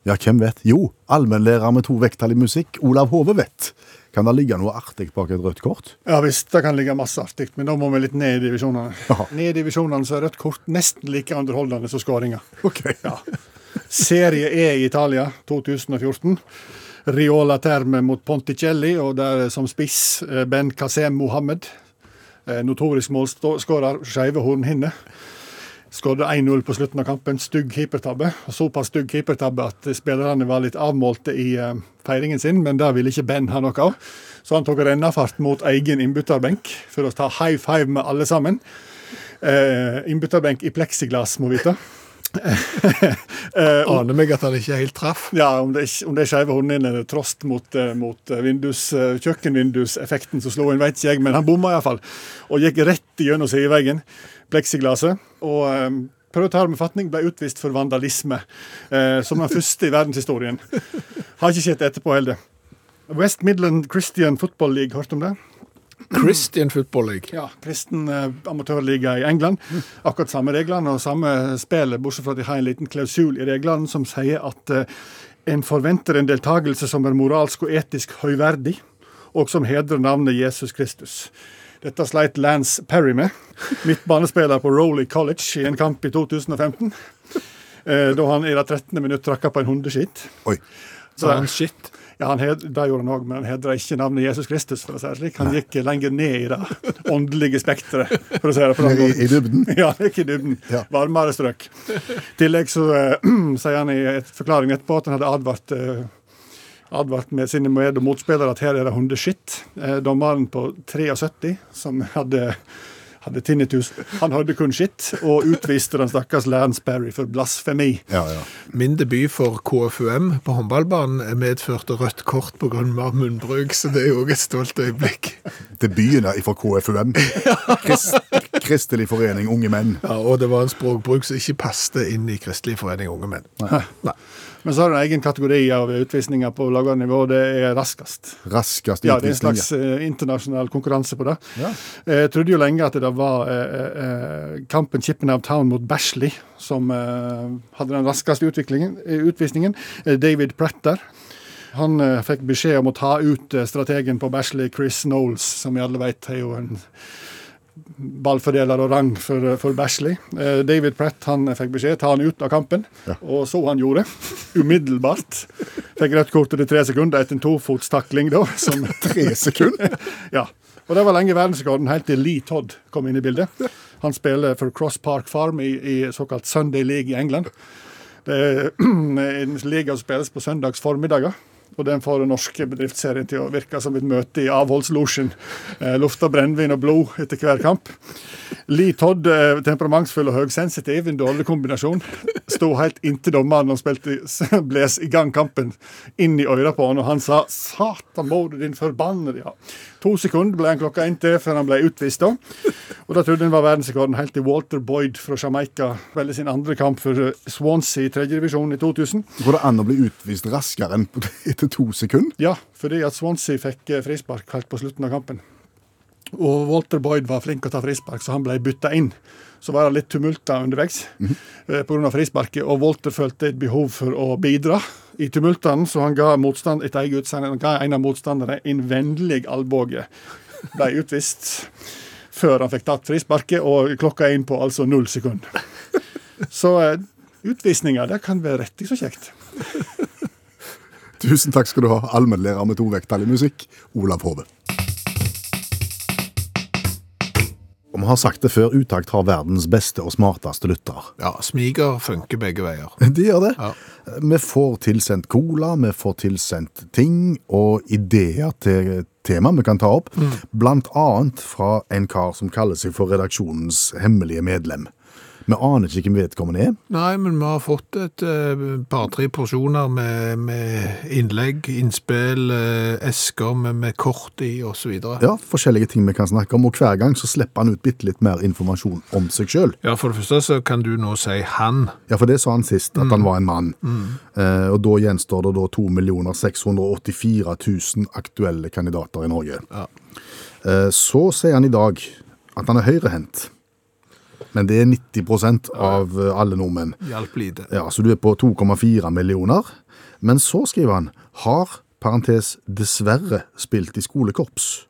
Ja, hvem vet? Jo, allmennlærer med to vekttall i musikk, Olav Hove, vet. Kan det ligge noe artig bak et rødt kort? Ja visst, det kan ligge masse artig, men da må vi litt ned i divisjonene. Ja. Ned i divisjonene så er rødt kort nesten like underholdende som skåringer. Ok. Ja. Serie E i Italia 2014. Riola Terme mot Ponticelli, og der som spiss eh, Ben Kasem Mohammed. Eh, Notorisk målskårer, skeive hornhinner. Skåret 1-0 på slutten av kampen. Stygg keepertabbe. Og Såpass stygg keepertabbe at spillerne var litt avmålte i eh, feiringen sin, men det ville ikke Ben ha noe av. Så han tok rennafart mot egen innbytterbenk for å ta high five med alle sammen. Eh, innbytterbenk i pleksiglass, må vite. eh, Aner meg at han ikke helt traff. ja, om det, er- om det er skeive hornhinner eller trost mot, eh, mot eh, vindus, eh, kjøkkenvinduseffekten som slo inn, vet ikke jeg, men han bomma iallfall. Og gikk rett gjennom sideveggen, pleksiglasset. Og eh, prøvde å ta det med fatning, ble utvist for vandalisme. Eh, som den første i verdenshistorien. Har ikke skjedd etterpå heller. West Midland Christian Football League, hørte du om det? Christian Football League. Ja, Mm. kristen eh, amatørliga i England. Akkurat samme reglene og samme spillet, bortsett fra at de har en liten klausul i reglene som sier at eh, en forventer en deltakelse som er moralsk og etisk høyverdig, og som hedrer navnet Jesus Kristus. Dette sleit Lance Perry med, midtbanespiller på Rowley College i en kamp i 2015. eh, Da han i det 13. minutt trakka på en hundeskitt. Oi. Så han shit. Ja, han hed, det gjorde han òg, men han hedra ikke navnet Jesus Kristus. for å si det slik. Han gikk lenger ned i det åndelige spekteret. for å si det på den Nede måten. i- i dybden? Ja, han gikk i dybden. Ja. Varmere strøk. I tillegg så eh, sier han i et forklaring etterpå at han hadde advart, eh, advart med sine med- og motspillere at her er det hundeskitt. Eh, dommeren på 73, som hadde hadde tinnitus. Han hørte kun skitt, og utviste den stakkars Lance Berry for blasfemi. Ja, ja. Min debut for KFUM på håndballbanen medførte rødt kort pga. munnbruk, så det er jo også et stolt øyeblikk. Debuten er fra KFUM. Krist, Kristelig forening unge menn. Ja, Og det var en språkbruk som ikke passte inn i Kristelig forening unge menn. Nei. Men så har du en egen kategori av utvisninger på lavere nivå, det er raskest. Raskest Ja, det er en utvisning. slags eh, internasjonal konkurranse på det. Ja. Eh, Jeg trodde jo lenge at det var eh, eh, kampen Chippendale Town mot Bashley som eh, hadde den raskeste utviklingen, eh, utvisningen. Eh, David Pratter. Han eh, fikk beskjed om å ta ut eh, strategen på Bashley, Chris Knowles, som vi alle vet er jo en ballfordeler og rang for, for Bashley. Eh, David Pratt han fikk beskjed ta han ut av kampen, og så han gjorde. Umiddelbart. Fikk rødt kort etter tre sekunder etter en tofotstakling, da. Som, Tre sekunder? ja. Og det var lenge verdensrekorden, helt til Lee Todd kom inn i bildet. Han spiller for Cross Park Farm i, i såkalt Sunday League i England. Det er en liga som spilles på søndags formiddager. Og den får den norske bedriftsserien til å virke som et møte i avholdslosjen. Eh, lufta brennevin og blod etter hver kamp. Lee Todd, eh, temperamentsfull og høysensitiv, en dårlig kombinasjon. Sto helt inntil dommeren og spilte i- bles i gang kampen inn i øra på han, og han sa 'Satan, må du din forbannede ja. To sekunder ble han klokka inn til før han ble utvist, da. Og da trodde han var verdensrekorden helt til Walter Boyd fra Jamaica velger sin andre kamp for eh, Swansea i tredjedivisjon i 2000. Går det an å bli utvist raskere enn etter to sekunder? Ja, fordi at Swansea fikk eh, frispark helt på slutten av kampen. Og Walter Boyd var flink å ta frispark, så han ble bytta inn. Så var det litt tumulter underveis eh, på grunn av frisparket, og Walter følte et behov for å bidra i tumultene, så han ga motstand etter eget utseende. Han ga en av motstanderne en vennlig albue. Ble utvist før han fikk tatt frisparket, og klokka er inn på altså null sekunder. Så eh, utvisninger, det kan være riktig så kjekt. Tusen takk skal du ha, allmennlærer med to vekttall i musikk, Olav Hove. Og Vi har sagt det før, Utakt har verdens beste og smarteste lytter. Ja, Smiger funker begge veier. De gjør det. Ja. Vi får tilsendt cola, vi får tilsendt ting og ideer til tema vi kan ta opp. Blant annet fra en kar som kaller seg for redaksjonens hemmelige medlem. Vi aner ikke hvem vedkommende er. Nei, men vi har fått et eh, par-tre porsjoner med, med innlegg, innspill, eh, esker med, med kort i osv. Ja. Ja, forskjellige ting vi kan snakke om, og hver gang så slipper han ut bitte litt mer informasjon om seg sjøl. ja, for det første så kan du nå si 'han'. Ja, for det sa han sist, at han var en mann. Eh, og da gjenstår det da 2 684 000 aktuelle kandidater i Norge. Eh, så sier han i dag at han er høyrehendt. Men det er 90 av eh, alle nordmenn. Hjalp lite. Ja, Så du er på 2,4 millioner. Men så skriver han har parentes dessverre spilt i skolekorps.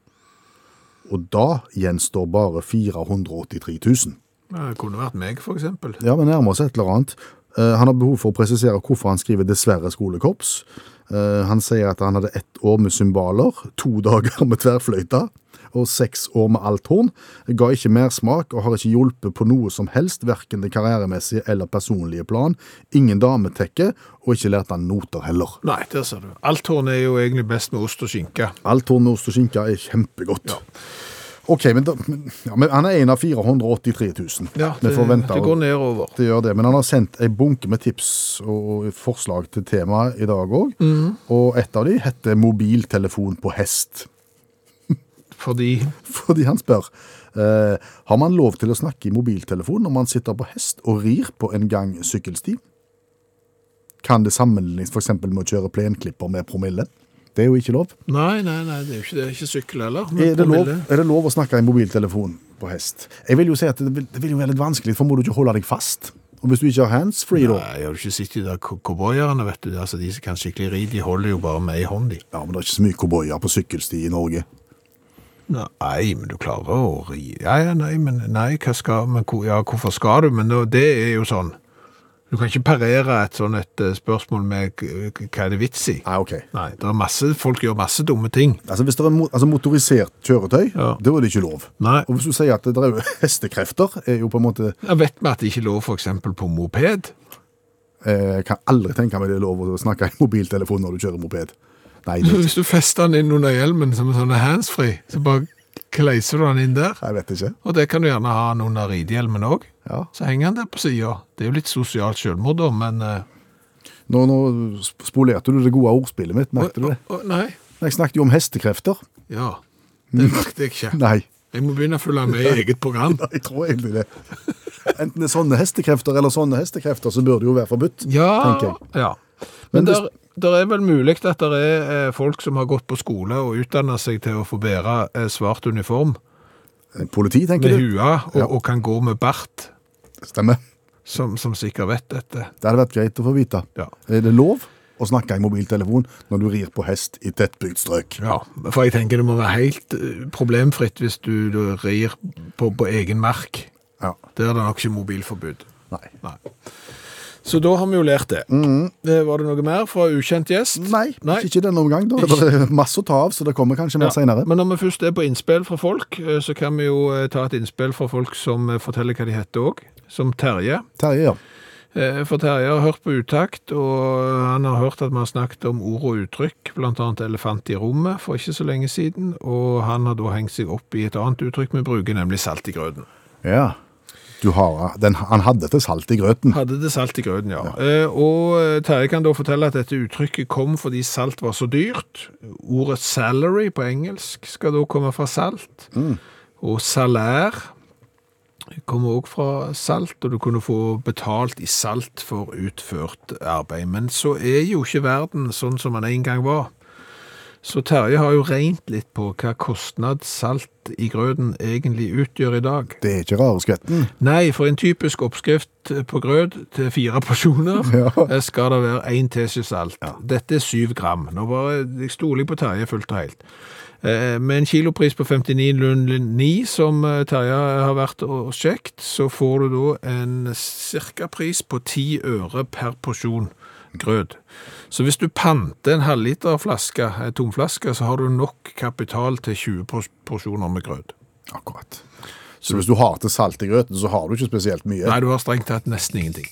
Og da gjenstår bare 483 000. Ja, Det kunne vært meg, for eksempel. Ja, vi nærmer oss et eller annet. Eh, han har behov for å presisere hvorfor han skriver 'dessverre skolekorps'. Eh, han sier at han hadde ett år med cymbaler, to dager med tverrfløyta og seks år med althorn. Ga ikke mersmak og har ikke hjulpet på noe som helst, verken det karrieremessige eller personlige plan. Ingen dametekke, og ikke lærte han noter heller. Nei, der ser du. Althorn er jo egentlig best med ost og skinke. Althorn med ost og skinke er kjempegodt. Ok, men, da, men- ja, men han er en av 483 000. Vi det, får vente det og- går nedover. Det gjør det, men han har sendt ei bunke med tips og forslag til temaet i dag òg. Mhm. Og et av de heter 'mobiltelefon på hest'. Fordi Fordi han spør eh, har man lov til å snakke i mobiltelefon når man sitter på hest og rir på en gang sykkelsti. Kan det sammenlignes f.eks. med å kjøre plenklipper med promille? Det er jo ikke lov. Nei, nei, nei, det er jo ikke det. Ikke sykkel heller. men Er det lov, promille. er det lov å snakke i mobiltelefon på hest? Jeg vil jo si at det vil, det vil jo være litt vanskelig, for må du ikke holde deg fast? Og hvis du ikke har handsfree, da? Nei, har du ikke sett de der cow- cowboyerne, vet du. Altså, de som kan skikkelig ri, de holder jo bare med ei hånd, de. Ja, men det er ikke så mye cowboyer på sykkelsti i Norge. Nei, men du klarer å ri... Ja, ja, nei, men, nei, hva skal, men hvor- ja, hvorfor skal du? Men nå, det er jo sånn. Du kan ikke parere et sånn et eh, spørsmål med k- k- hva er det vits i? Nei, ok. Nei, det er masse, folk gjør masse dumme ting. Altså Hvis det er mo altså, motorisert kjøretøy, Ja. det var det ikke lov. Nei. Og hvis du sier at det er jo hestekrefter, er jo på en måte Jeg vet vi at det ikke er lov for eksempel på moped. eh, Kan aldri tenke meg det er lov å snakke i mobiltelefon når du kjører moped. Nei, det, Hvis du fester den inn under hjelmen som en sånn handsfree, så bare kleiser du den inn der. jeg vet ikke. Og det kan du gjerne ha den under ridehjelmen òg. Ja. Så henger den der på sida. Det er jo litt sosialt selvmord, da, men eh, Nå, nå sp- spolerte du det gode ordspillet mitt, merket du det? Å, å, Nei. Jeg snakket jo om hestekrefter. Ja. Det merket jeg ikke. Nei, Jeg må begynne å følge med i eget program. jeg tror egentlig det. Enten det er sånne hestekrefter eller sånne hestekrefter, så bør det jo være forbudt, tenker jeg. ja. Men Men det- der, der er vel mulig at det er eh, folk som har gått på skole og utdannet seg til å få bære eh, svart uniform Politi, tenker med du? hua og, Ja. og kan gå med bart, Stemmer. som, som sikkert vet dette. Det hadde vært greit å få vite. Ja. Er det lov å snakke i mobiltelefon når du rir på hest i tettbygd strøk? Ja, for jeg tenker det må være helt eh, problemfritt hvis du, du rir på, på egen mark. Ja. Der er det nok ikke mobilforbud. Nei. Nei. Så da har vi jo lært det. Eh, Var det noe mer fra ukjent gjest? Mm. Nei, ikke denne omgang. Da. Ikke- Det er masse å ta av, så det kommer kanskje mer Ja, senere. Men når vi først er på innspill fra folk, eh, så kan vi jo eh, ta et innspill fra folk som eh, forteller hva de heter òg, som Terje. Terje, ja. Eh, For Terje har hørt på utakt, og han har hørt at vi har snakket om ord og uttrykk, bl.a. elefant i rommet for ikke så lenge siden, og han har da hengt seg opp i et annet uttrykk vi bruker, nemlig salt i grøten. ja. Du har, den, han hadde til salt i grøten. Hadde det salt i grøten, ja. Eh, Og eh, Terje kan da fortelle at dette uttrykket kom fordi salt var så dyrt. Ordet salary på engelsk skal da komme fra salt. Og salær kommer også fra salt, og du kunne få betalt i salt for utført arbeid. Men så er jo ikke verden sånn som den en gang var. Så Terje har jo regnet litt på hva kostnad salt i grøten egentlig utgjør i dag. Det er ikke rare skvetten. Nei, for en typisk oppskrift på grøt til fire porsjoner eh, Ja. skal det være én teskje salt. Dette er syv gram. Nå bare jeg stoler på Terje fullt og helt. Eh, Med en kilopris på 59,09 som eh, Terje har vært og og sjekt, så får du da en cirka-pris på ti øre per porsjon grøt. Så hvis du panter en halvliter flaske, eh, tomflaske, så har du nok kapital til 20 pors- porsjoner med grøt. Akkurat. Så hvis du har til salt i grøten, så har du ikke spesielt mye. Nei, du har strengt tatt nesten ingenting.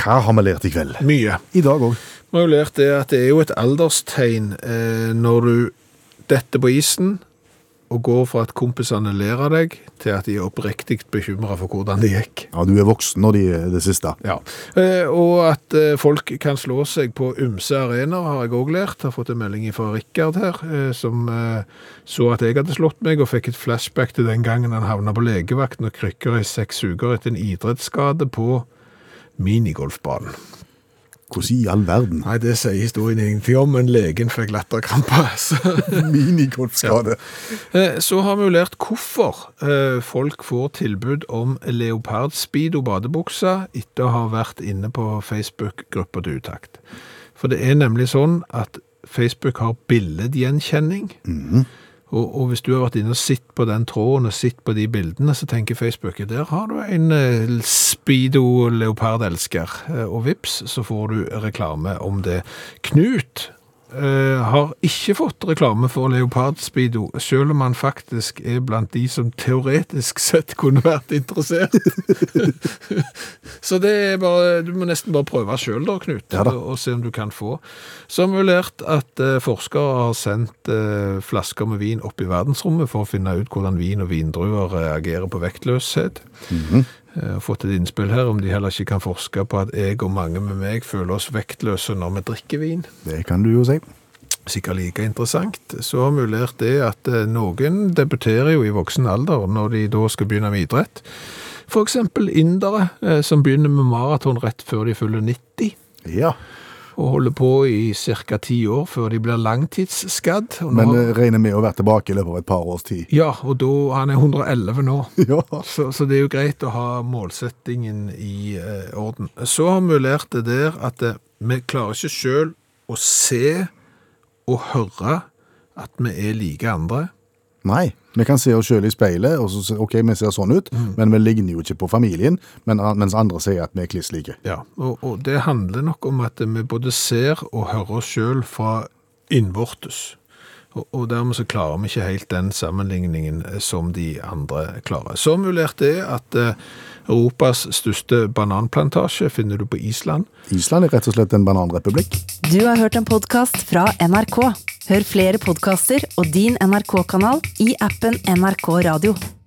Hva har vi lært i kveld? Mye. I dag òg. Vi har jo lært det at det er jo et alderstegn eh, når du detter på isen og går fra at kompisene ler av deg, til at de er oppriktig bekymra for hvordan det gikk. Ja, du er voksen når de det siste. Ja. Eh, og at eh, folk kan slå seg på ymse arenaer, har jeg òg lært. Har fått en melding fra Rikard her, eh, som eh, så at jeg hadde slått meg, og fikk et flashback til den gangen han havna på legevakten og krykker i seks uker etter en idrettsskade på minigolfbanen. Hvordan i all verden? Nei, det sier historien ingenting om, men legen fikk latterkrampe. Så, Minigolfskade. Eh, så har vi jo lært hvorfor eh, folk får tilbud om leopard speedo badebukser etter å ha vært inne på Facebook-gruppa til utakt. For det er nemlig sånn at Facebook har billedgjenkjenning. Og, og hvis du har vært inne og sett på den tråden og sett på de bildene, så tenker Facebook der har du en eh, speedo leopardelsker. Eh, Og vips, så får du reklame om det. Knut eh, har ikke fått reklame for leopardspeedo, selv om han faktisk er blant de som teoretisk sett kunne vært interessert. Så det er bare, du må nesten bare prøve selv da, Knut, Ja da. og se om du kan få. Så har vi jo lært at eh, forskere har sendt eh, flasker med vin opp i verdensrommet for å finne ut hvordan vin og vindruer reagerer på vektløshet. Mhm. Eh, Jeg har fått et innspill her om de heller ikke kan forske på at jeg og mange med meg føler oss vektløse når vi drikker vin Det kan du jo si. sikkert like interessant, så har vi lært det at eh, noen debuterer jo i voksen alder når de da skal begynne med idrett. For eksempel indere eh, som begynner med maraton rett før de fyller 90, Ja. og holder på i ca. 10 år før de blir langtidsskadd. Og nå, Men eh, regner med å være tilbake i løpet av et par års tid. ja, og da, han er 111 nå. Ja. Så, så det er jo greit å ha målsettingen i eh, orden. Så har vi lært det der at eh, vi klarer ikke selv å se og høre at vi er like andre. Nei. Vi kan se oss sjøl i speilet, og så se- ok, vi ser sånn ut, men vi ligner jo ikke på familien. Men, eh, mens andre sier at vi er kliss like. Ja, og, og det handler nok om at vi både ser og hører oss sjøl fra innvortes. Og, og dermed så klarer vi ikke helt den sammenligningen eh, som de andre klarer. Så mulert er at eh, Europas største bananplantasje finner du på Island. Island er rett og slett en bananrepublikk. Du har hørt en podkast fra NRK. Hør flere podkaster og din NRK-kanal i appen NRK Radio.